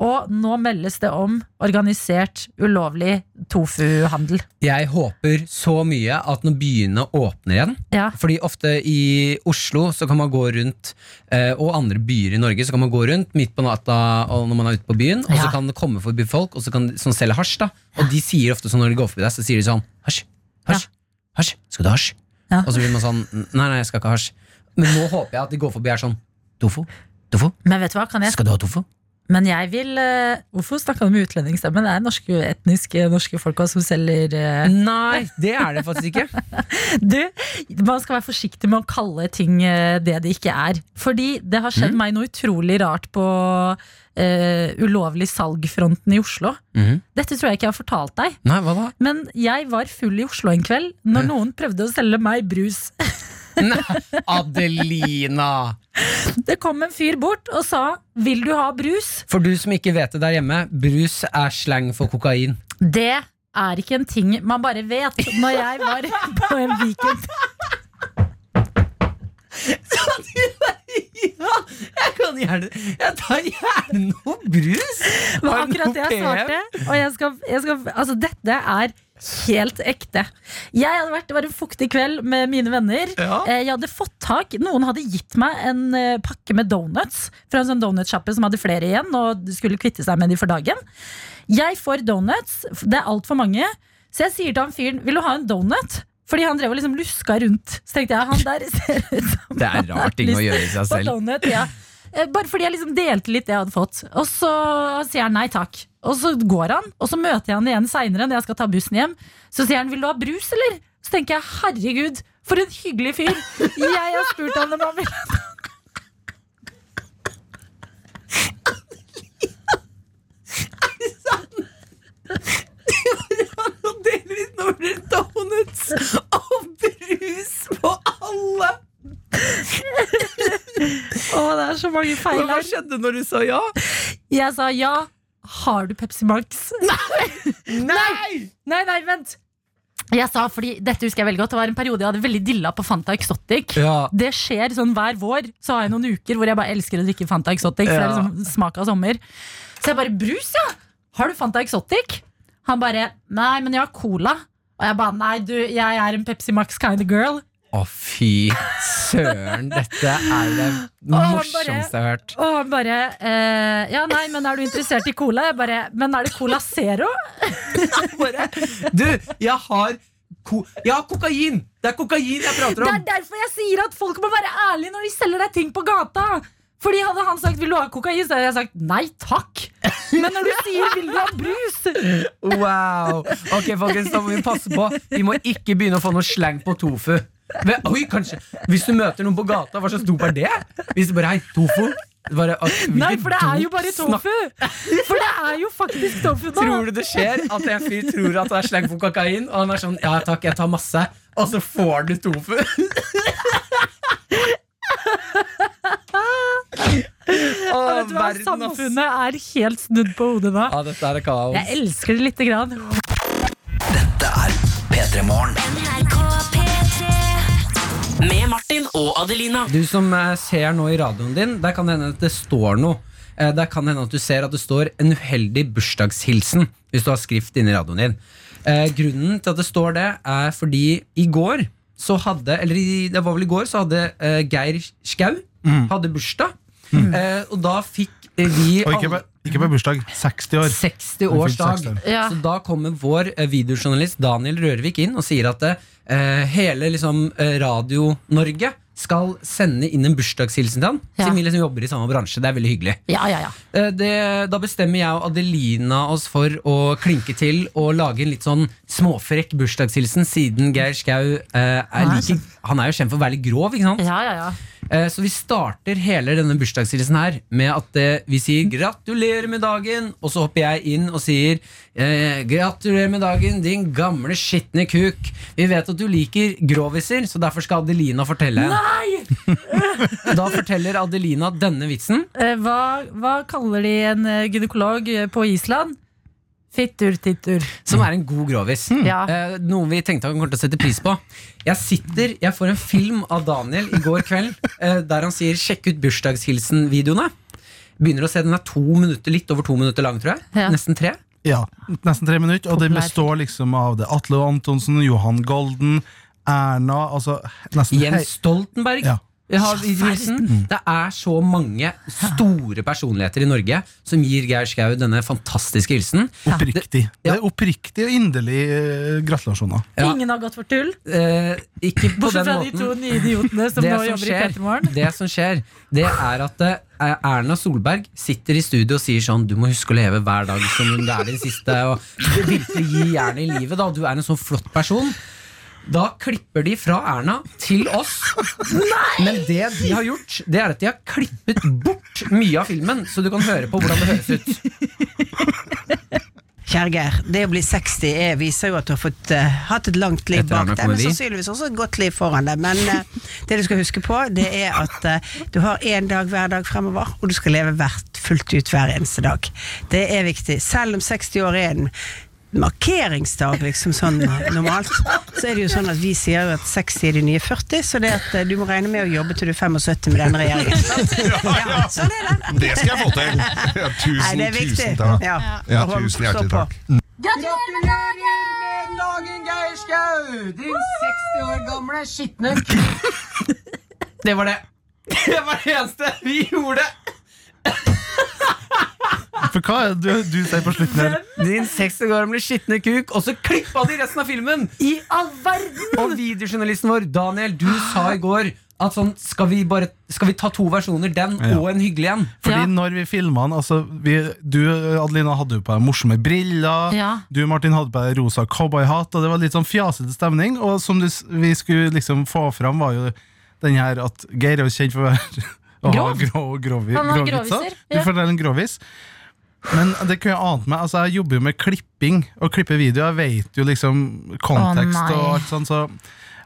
Speaker 3: Og nå meldes det om organisert ulovlig tofuhandel.
Speaker 4: Jeg håper så mye at når byene åpner igjen
Speaker 3: Ja.
Speaker 4: Fordi ofte i Oslo så kan man gå rundt, eh, og andre byer i Norge, så kan man gå rundt midt på natta og når man er ute på byen, og så
Speaker 3: Ja.
Speaker 4: kan det komme forbi folk og så kan, som selger hasj. da Og de sier ofte sånn når de går forbi deg, så sier de sånn Hasj, hasj, hasj, skal du ha hasj?
Speaker 3: Ja.
Speaker 4: Og så blir man sånn Nei, nei, jeg skal ikke ha hasj. Men nå håper jeg at de går forbi her sånn Tofu, tofu,
Speaker 3: Men vet du hva, kan jeg,
Speaker 4: skal du ha tofu?
Speaker 3: men jeg vil eh, Hvorfor snakka du med utlendingsstemmen? Det er norske, etniske norske folka som selger eh,
Speaker 4: Nei, det er det faktisk ikke.
Speaker 3: Du, man skal være forsiktig med å kalle ting eh, det det ikke er. Fordi det har skjedd meg noe utrolig rart på eh, ulovlig salgfronten i Oslo.
Speaker 4: Mhm.
Speaker 3: Dette tror jeg ikke jeg har fortalt deg,
Speaker 4: Nei, hva da?
Speaker 3: men jeg var full i Oslo en kveld når noen prøvde å selge meg brus.
Speaker 4: Nei, Adelina!
Speaker 3: Det kom en fyr bort og sa 'vil du ha brus'?
Speaker 4: For du som ikke vet det der hjemme, brus er slang for kokain.
Speaker 3: Det er ikke en ting man bare vet. Når jeg var på en weekend
Speaker 4: Ja, jeg kan gjerne Jeg tar gjerne noe brus!
Speaker 3: Men
Speaker 4: Har du
Speaker 3: akkurat det
Speaker 4: noe
Speaker 3: jeg
Speaker 4: PM?
Speaker 3: svarte. Og jeg skal, jeg skal, altså dette er helt ekte. Jeg hadde vært, Det var en fuktig kveld med mine venner.
Speaker 4: Ja.
Speaker 3: Eh, Jeg hadde fått tak Noen hadde gitt meg en eh, pakke med donuts fra en sånn donutsjappe som hadde flere igjen og skulle kvitte seg med de for dagen. Jeg får donuts. Det er altfor mange. Så jeg sier til han fyren Vil du ha en donut? Fordi han drev og liksom luska rundt. Så tenkte jeg, han der ser ut som
Speaker 11: Det er rar ting å gjøre i seg
Speaker 3: på
Speaker 11: selv.
Speaker 3: donut, ja. Eh, Bare fordi jeg liksom delte litt det jeg hadde fått. Og så sier han nei takk. Og så går han, og så møter jeg han igjen seinere når jeg skal ta bussen hjem. Så sier han vil du ha brus, eller? Så tenker jeg herregud, for en hyggelig fyr. Jeg har spurt han om han vil ha
Speaker 4: (laughs) Og deler ut noen donuts og brus på alle!
Speaker 3: Å, det er så mange feil
Speaker 4: Men hva
Speaker 3: her.
Speaker 4: skjedde når du sa ja?
Speaker 3: Jeg sa ja. Har du Pepsi Max?
Speaker 4: Nei!
Speaker 3: Nei, nei, vent. Jeg sa, fordi Dette husker jeg veldig godt. Det var en periode jeg hadde veldig dilla på Fanta Exotic.
Speaker 4: Ja.
Speaker 3: Det skjer sånn hver vår. Så har jeg noen uker hvor jeg bare elsker å drikke Fanta Exotic. For det er
Speaker 4: Ja.
Speaker 3: liksom smak av sommer Så jeg bare 'Brus, ja! Har du Fanta Exotic?' Han bare 'Nei, men jeg har Cola'. Og jeg bare 'Nei, du, jeg er en Pepsi Max kind of girl'.
Speaker 4: Å, fy søren. Dette er det
Speaker 3: han bare-
Speaker 4: morsomste jeg har hørt.
Speaker 3: Og han bare eh, 'Ja, nei, men er du interessert i Cola?' Jeg bare 'Men er det Cola Zero?'
Speaker 4: Bare, du, jeg har ko Jeg har kokain! Det er kokain jeg prater
Speaker 3: Det
Speaker 4: om!
Speaker 3: er derfor jeg sier at folk må være ærlige når de selger deg ting på gata. Fordi Hadde han sagt 'vil du ha kokain', så hadde jeg sagt nei takk. Men når du sier 'vil du ha brus',
Speaker 4: Wow! Ok, folkens, da må vi passe på. Vi må ikke begynne å få noe slang på tofu. Ve- Oi, kanskje Hvis du møter noen på gata, hva slags dop er det? Hvis du bare Hei, tofu? Bare,
Speaker 3: Nei,
Speaker 4: ok, hvilket
Speaker 3: for det er jo
Speaker 4: dop
Speaker 3: bare
Speaker 4: snakker-
Speaker 3: tofu! For det er jo faktisk tofu nå.
Speaker 4: Tror du det skjer at en fyr tror at det er slang på kokain, og han er sånn Ja takk, jeg tar masse, og så får du tofu?
Speaker 3: (laughs) Ja,
Speaker 4: Å,
Speaker 3: Vet du hva?
Speaker 4: verden, ass.
Speaker 3: Samfunnet er helt snudd på hodet nå.
Speaker 4: Ja, dette er kaos.
Speaker 3: Jeg elsker det lite grann.
Speaker 2: Med Martin og Adelina.
Speaker 4: Du som eh, ser nå i radioen din, der kan det hende at det står noe. Eh, Der kan det hende at du ser at det står en uheldig bursdagshilsen hvis du har skrift inni radioen din. Eh, grunnen til at det står det, er fordi i går så hadde Eller i, det var vel i går, så hadde eh, Geir Skau hadde bursdag. Eh, og da fikk eh, vi
Speaker 12: Og ikke
Speaker 4: alle-
Speaker 12: på, ikke på bursdag. 60 år.
Speaker 4: 60
Speaker 12: Han
Speaker 4: års
Speaker 12: fylte
Speaker 4: dag.
Speaker 12: 60.
Speaker 3: Ja.
Speaker 4: Så da kommer vår eh, videojournalist Daniel Rørvik inn og sier at eh, hele liksom, eh, Radio-Norge skal sende inn en bursdagshilsen til han.
Speaker 3: Ja.
Speaker 4: Siden vi liksom jobber i samme bransje. Det er veldig hyggelig.
Speaker 3: Ja, ja, ja.
Speaker 4: Eh, det, da bestemmer jeg og Adelina oss for å klinke til og lage en litt sånn småfrekk bursdagshilsen, siden Geir Skau eh, er
Speaker 3: Nei,
Speaker 4: like, Han er jo kjent for å være litt grov, ikke sant?
Speaker 3: ja, ja, ja.
Speaker 4: Eh, Så vi starter hele denne bursdagshilsen her med at eh, vi sier 'gratulerer med dagen', og så hopper jeg inn og sier eh, 'gratulerer med dagen, din gamle skitne kuk'. Vi vet at du liker groviser, så derfor skal Adelina fortelle.
Speaker 3: Nei!
Speaker 4: Da forteller Adelina denne vitsen.
Speaker 3: Eh, Hva, hva kaller de en eh, gynekolog eh, på Island? Fittur, tittur.
Speaker 4: Som er en god grovis.
Speaker 3: Mm. Ja.
Speaker 4: Eh, noe vi tenkte han kommer til å sette pris på. Jeg sitter, jeg får en film av Daniel i går kveld eh, der han sier 'sjekk ut bursdagshilsen-videoene'. Begynner å se, Den er to minutter, litt over to minutter lang, tror jeg.
Speaker 3: Ja.
Speaker 4: Nesten tre.
Speaker 12: Ja, Nesten tre minutter. Og det
Speaker 3: Populær.
Speaker 12: består liksom av det. Atle og Antonsen, Johan Golden, Erna altså nesten
Speaker 4: Jens Stoltenberg.
Speaker 12: Ja.
Speaker 4: Vi har Wilson.
Speaker 3: Mm.
Speaker 4: Det er så mange store personligheter i Norge som gir Geir Skau denne fantastiske hilsen.
Speaker 12: hei, oppriktig.
Speaker 4: Ja.
Speaker 12: Det er oppriktig og inderlig eh, gratulasjoner.
Speaker 4: Ja.
Speaker 3: Ingen har gått for tull.
Speaker 4: Eh, ikke på
Speaker 3: Bortsett
Speaker 4: den
Speaker 3: fra de
Speaker 4: måten.
Speaker 3: to nye idiotene som
Speaker 4: Det
Speaker 3: nå
Speaker 4: som,
Speaker 3: jobber i
Speaker 4: skjer,
Speaker 3: Petter Morgen.
Speaker 4: det som skjer, det er at eh, Erna Solberg sitter i studio og sier sånn Du må huske å leve hver dag som om det er din siste. Og virkelig gi jernet i livet. da Du er en sånn flott person. Da klipper de fra Erna til oss. Men det de har gjort, det er at de har klippet bort mye av filmen, så du kan høre på hvordan det høres ut.
Speaker 8: Kjære Geir, det å bli 60 er, viser jo at du har fått, eh, hatt et langt liv
Speaker 4: Etter
Speaker 8: bak
Speaker 4: Arne
Speaker 8: deg, men
Speaker 4: kommer vi.
Speaker 8: sannsynligvis også et godt liv foran deg. Men (laughs) eh, det du skal huske på, det er at eh, du har én dag hver dag fremover, og du skal leve hvert, fullt ut hver eneste dag. Det er viktig. Selv om 60 år er en markeringsdag, liksom sånn normalt, så er det jo sånn at vi sier jo at 60 er de nye 40, så det at eh, du må regne med å jobbe til du er 75 med denne (laughs) regjeringen. sant? Ja, sånn er det.
Speaker 13: Det skal jeg få til! Ja, tusen,
Speaker 8: Nei, det er viktig.
Speaker 13: tusen takk.
Speaker 8: Ja.
Speaker 13: Ja,
Speaker 8: Og
Speaker 13: tusen
Speaker 8: stå
Speaker 13: hjertelig
Speaker 8: på.
Speaker 13: takk.
Speaker 14: Gratulerer med dagen, Geir Skau! Din 60 år gamle skitne kuk.
Speaker 4: Det var det. Det var det eneste vi gjorde!
Speaker 12: For hva er det du, du sier på slutten her?
Speaker 4: Din 60 år gamle skitne kuk, og så klippa de resten av filmen! I all verden! Og videojournalisten vår, Daniel, du sa i går at sånn, skal vi, bare, skal vi ta to versjoner? Den
Speaker 12: Ja.
Speaker 4: og en hyggelig en?
Speaker 12: Fordi når vi filma den altså, vi, Du, Adelina, hadde jo på deg morsomme briller.
Speaker 3: Ja.
Speaker 12: Du, Martin, hadde på deg rosa cowboyhatt, og det var litt sånn fjasete stemning. Og som du, s- vi skulle liksom få fram, var jo den her at Geir er jo kjent for å være (laughs) å ha
Speaker 3: Grov.
Speaker 12: grå, grovi,
Speaker 3: Han har
Speaker 12: grovvitser.
Speaker 3: groviser,
Speaker 12: Du
Speaker 3: ja.
Speaker 12: forteller en grovis. Men det kunne jeg ant meg. Altså, jeg jobber jo med klipping og klipper video. Jeg vet jo liksom kontekst
Speaker 3: Å, nei.
Speaker 12: og alt sånt, så